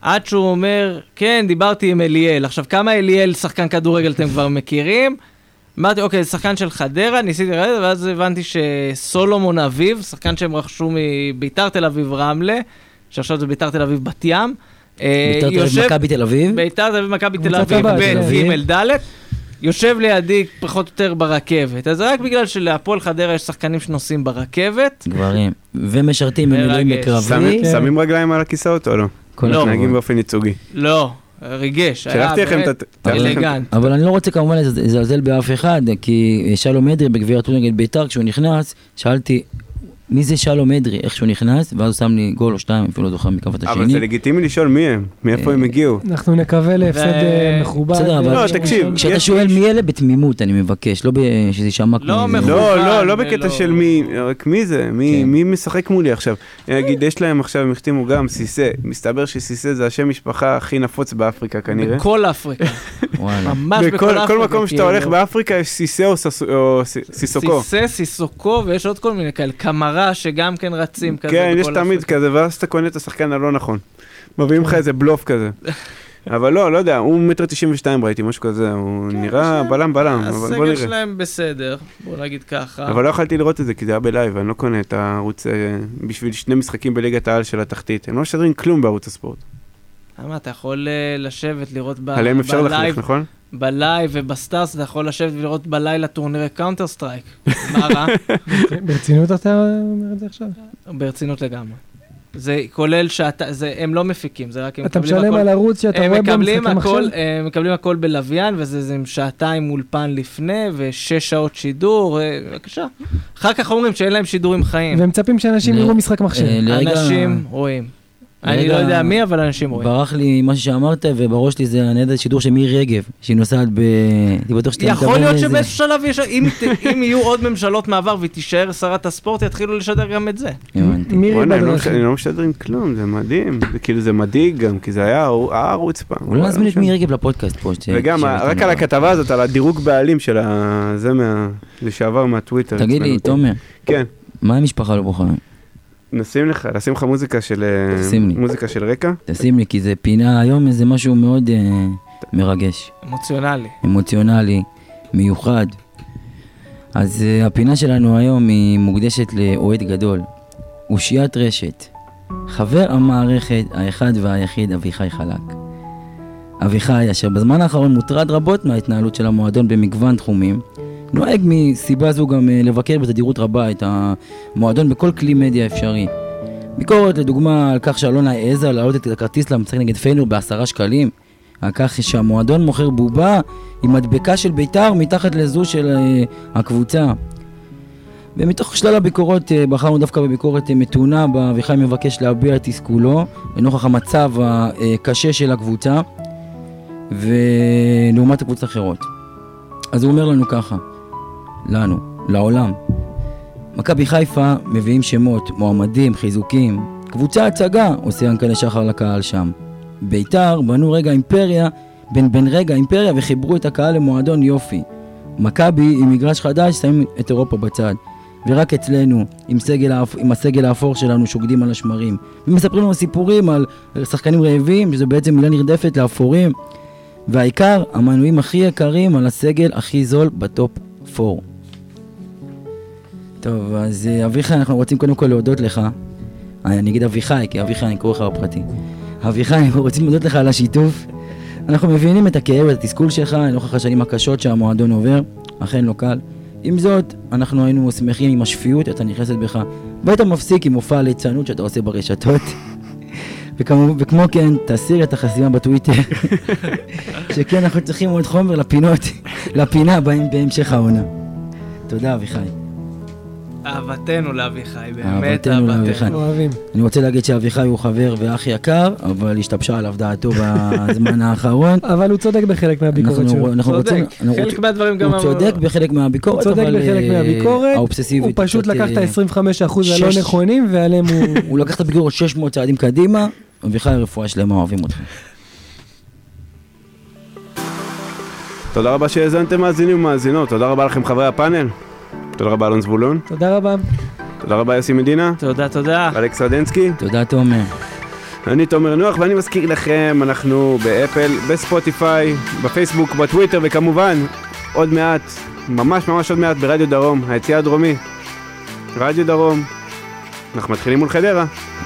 Speaker 3: עד שהוא אומר, כן, דיברתי עם אליאל. עכשיו, כמה אליאל שחקן כדורגל אתם כבר מכירים? אמרתי, אוקיי, זה שחקן של חדרה, ניסיתי לרדת, ואז הבנתי שסולומון אביב, שחקן שהם רכשו מביתר תל אביב רמלה, שעכשיו זה ביתר תל אביב בת ים. אה,
Speaker 4: ביתר תל אביב,
Speaker 3: יושב-
Speaker 4: מכבי תל אביב.
Speaker 3: ביתר תל אביב, מכבי תל
Speaker 2: קבוצת
Speaker 3: אביב,
Speaker 2: הבת,
Speaker 3: ב',
Speaker 2: תל
Speaker 4: אביב.
Speaker 3: ג', ד', יושב לידי פחות או יותר ברכבת. אז זה רק בגלל שלהפועל חדרה יש שחקנים שנוסעים ברכבת.
Speaker 4: גברים. ומשרתים
Speaker 3: מרגש.
Speaker 4: במילואים בקרבי.
Speaker 1: שמים- שמים רגליים על הכיסאות או לא?
Speaker 4: כל
Speaker 3: כן. לא.
Speaker 4: הכבוד.
Speaker 1: מתנהגים באופן ייצוגי.
Speaker 3: לא, ריגש. היה
Speaker 1: שלחתי לכם
Speaker 3: באמת
Speaker 1: את ה- שלחתי לכם-
Speaker 3: אלגנט.
Speaker 4: אבל אני לא רוצה כמובן לז- לזלזל באף אחד, כי אה, שלום אדרי בגביע הטור נגד ביתר, כשהוא נכנס, שאלתי, מי זה שלום אדרי, איך שהוא נכנס, ואז הוא שם לי גול או שתיים, אפילו לא זוכר מקו את
Speaker 1: אבל זה
Speaker 4: השני.
Speaker 1: לגיטימי לשאול מי הם, מאיפה
Speaker 3: אה.
Speaker 1: הם הגיעו.
Speaker 2: אנחנו נקווה להפסד אה, מכובד.
Speaker 4: בסדר, אבל-
Speaker 2: אה,
Speaker 1: לא, תקשיב,
Speaker 2: ראשון.
Speaker 4: כשאתה
Speaker 1: יש-
Speaker 4: שואל מי אלה, בתמימות אני מבקש, לא ב- שזה יישמע כמו...
Speaker 3: לא,
Speaker 4: איזה-
Speaker 3: מכו-
Speaker 1: לא,
Speaker 3: מכוון
Speaker 1: לא, לא
Speaker 3: ולא-
Speaker 1: בקטע של מי, רק מי זה, מי
Speaker 4: כן.
Speaker 1: מי משחק מולי עכשיו. אני אגיד, יש להם עכשיו, הם החתימו גם סיסא, מסתבר שסיסא זה השם משפחה הכי נפוץ באפריקה כנראה.
Speaker 3: בכל אפריקה,
Speaker 4: וואלה.
Speaker 3: ממש בכל
Speaker 1: בכל
Speaker 3: אפריקה.
Speaker 1: כל מקום שאתה
Speaker 3: כאילו.
Speaker 1: הולך באפריקה יש סיסא או סס- או ס- סיסוקו.
Speaker 3: סיסא, סיסוקו, ויש עוד כל מיני כאלה, קמרה שגם כן רצים כזה.
Speaker 1: כן, יש
Speaker 3: בכל
Speaker 1: תמיד
Speaker 3: אפריקה.
Speaker 1: כזה, ואז אתה קונה את השחקן הלא נכון. מביאים
Speaker 3: כן.
Speaker 1: לך איזה בלוף כזה. אבל לא, לא יודע, הוא מטר תשעים ושתיים ראיתי, משהו כזה, הוא
Speaker 3: כן,
Speaker 1: נראה
Speaker 3: יש להם-
Speaker 1: בלם בלם, אבל בוא
Speaker 3: הסגל
Speaker 1: נראה.
Speaker 3: שלהם בסדר, בוא נגיד ככה.
Speaker 1: אבל לא יכולתי לראות את זה, כי זה היה בלייב, אני לא קונה את הערוץ, אה, בשביל שני משחקים בליגת העל של התחתית. הם לא משדרים כלום בערוץ הספורט.
Speaker 3: למה, אתה יכול אה, לשבת, לראות ב-
Speaker 1: עליהם אפשר
Speaker 3: בלייב
Speaker 1: לחנך, נכון?
Speaker 3: בלייב ובסטארס אתה יכול לשבת ולראות בלילה טורנירי קאונטר סטרייק. מה רע?
Speaker 2: ברצינות אתה אומר את זה עכשיו?
Speaker 3: ברצינות לגמרי. זה כולל שאתה, זה, הם לא מפיקים, זה רק הם
Speaker 2: אתה
Speaker 3: מקבלים
Speaker 2: משלם על
Speaker 3: הכל.
Speaker 2: ערוץ שאתה
Speaker 3: הם
Speaker 2: רואה בו
Speaker 3: מקבלים
Speaker 2: משחקים עכשיו?
Speaker 3: הכל, הם מקבלים הכל בלוויין, וזה זה עם שעתיים אולפן לפני, ושש שעות שידור, אה, בבקשה. אחר כך אומרים שאין להם שידורים חיים.
Speaker 2: והם מצפים שאנשים
Speaker 4: ל-
Speaker 2: יראו משחק
Speaker 4: אה,
Speaker 2: מחשב.
Speaker 4: לרגע-
Speaker 3: אנשים רואים. אני
Speaker 4: לרגע-
Speaker 3: לא יודע מי, אבל אנשים רואים.
Speaker 4: ברח לי מה שאמרת, ובראש שלי זה הנהדת שידור של מירי רגב, שהיא נוסעת ב... הייתי בטוח שאתה
Speaker 3: יכול
Speaker 4: מתכוון
Speaker 3: להיות
Speaker 4: לזה.
Speaker 3: שבאיזשהו שלב יש, אם ת- אם יהיו עוד ממשלות מעבר והיא תישאר שרת הספורט, יתחילו לשדר גם את זה.
Speaker 4: הבנתי.
Speaker 2: מירי
Speaker 1: וואלה, הם לא מש-
Speaker 2: בדרכים.
Speaker 1: הם לא משדרים כלום, זה מדהים. זה כאילו, זה מדאיג גם, כי זה היה הערו- הערוץ פעם.
Speaker 4: אולי
Speaker 1: לא
Speaker 4: נזמין את
Speaker 1: משנה.
Speaker 4: מירי רגב לפודקאסט פה. ש-
Speaker 1: וגם,
Speaker 4: שתשב
Speaker 1: רק
Speaker 4: איתנו.
Speaker 1: על הכתבה הזאת, על הדירוג בעלים של ה... זה מה... לשעבר מהטוויטר.
Speaker 4: תגיד לי,
Speaker 1: עצבן אותי.
Speaker 4: תומר,
Speaker 1: כן,
Speaker 4: מה המשפחה לא בוכה?
Speaker 1: נשים לך, נשים לך מוזיקה של... אה,
Speaker 4: תשים לי.
Speaker 1: מוזיקה של רקע.
Speaker 4: תשים לי, כי זה פינה היום, איזה משהו מאוד אה, מרגש,
Speaker 3: אמוציונלי.
Speaker 4: אמוציונלי, מיוחד. אז אה, הפינה שלנו היום היא מוקדשת לאוהד גדול, אושיית רשת, חבר המערכת, האחד והיחיד, אביחי חלק. אביחי, אשר בזמן האחרון מוטרד רבות מההתנהלות של המועדון במגוון תחומים, נוהג מסיבה זו גם אה, לבקר בתדירות רבה את המועדון בכל כלי מדיה אפשרי. ביקורת לדוגמה על כך שאלונה העזה להעלות את הכרטיס למשחק נגד פיינור בעשרה שקלים, הכך שהמועדון מוכר בובה עם מדבקה של בית"ר מתחת לזו של אה, הקבוצה. ומתוך שלל הביקורות אה, בחרנו דווקא בביקורת אה, מתונה, בה אביחי מבקש להביע את תסכולו לנוכח המצב הקשה של הקבוצה ולעומת הקבוצות האחרות. אז הוא אומר לנו ככה, לנו, לעולם. מכבי חיפה מביאים שמות, מועמדים, חיזוקים. קבוצה הצגה, עושה ינקלה שחר לקהל שם. ביתר בנו רגע אימפריה, בן בן רגע אימפריה וחיברו את הקהל למועדון יופי. מכבי עם מגרש חדש שמים את אירופה בצד. ורק אצלנו, עם, סגל, האפ- עם הסגל האפור שלנו, שוקדים על השמרים. ומספרים לנו סיפורים על שחקנים רעבים, שזה בעצם מילה נרדפת לאפורים. והעיקר, המנויים הכי יקרים על הסגל הכי זול בטופ 4. טוב, אז אה, אביחי, אנחנו רוצים קודם כל להודות לך. אה, אני אגיד אביחי, כי אביחי אני קורא לך בפרטי. אביחי, אנחנו רוצים להודות לך על השיתוף. אנחנו מבינים את הכאב ואת התסכול שלך לנוכח השנים הקשות שהמועדון עובר, אכן לא קל. עם זאת, אנחנו היינו שמחים עם השפיות שאתה נכנסת בך, ואתה מפסיק עם מופע הליצנות שאתה עושה ברשתות. וכמו, וכמו כן, תסיר את החסימה בטוויטר, שכן אנחנו צריכים עוד חומר לפינות, לפינה בהמ- בהמשך העונה. תודה אביחי.
Speaker 3: אהבתנו לאביחי, באמת
Speaker 4: אהבתנו לאביחי.
Speaker 3: אהבתנו.
Speaker 2: אוהבים.
Speaker 4: אני רוצה להגיד שאביחי הוא חבר ואח יקר, אבל השתבשה עליו דעתו בזמן האחרון.
Speaker 2: אבל הוא צודק בחלק מהביקורת שלו.
Speaker 4: אנחנו אנחנו רוצים...
Speaker 3: צודק,
Speaker 4: אנחנו
Speaker 3: חלק
Speaker 4: רוצים-
Speaker 3: מהדברים גם...
Speaker 4: הוא צודק בחלק
Speaker 2: הוא
Speaker 4: מהביקורת, אבל...
Speaker 2: צודק בחלק
Speaker 4: אה,
Speaker 2: מהביקורת, הוא
Speaker 4: האובססיבית.
Speaker 2: פשוט
Speaker 4: קצת,
Speaker 2: לקח את
Speaker 4: אה,
Speaker 2: ה-25% הלא
Speaker 4: שש-
Speaker 2: נכונים, ועליהם הוא...
Speaker 4: הוא לקח את הביקורת 600 צעדים קדימה, אביחי רפואה שלמה, אוהבים אותך.
Speaker 1: תודה רבה שהאזנתם מאזינים ומאזינות, תודה רבה לכם חברי הפאנל, תודה רבה אלון זבולון,
Speaker 2: תודה רבה.
Speaker 1: תודה רבה יוסי מדינה,
Speaker 3: תודה, תודה.
Speaker 1: אלכס רדנסקי,
Speaker 4: תודה תומר.
Speaker 1: אני תומר נוח ואני מזכיר לכם, אנחנו באפל, בספוטיפיי, בפייסבוק, בטוויטר וכמובן, עוד מעט, ממש ממש עוד מעט ברדיו דרום, היציע הדרומי, רדיו דרום, אנחנו מתחילים מול חדרה.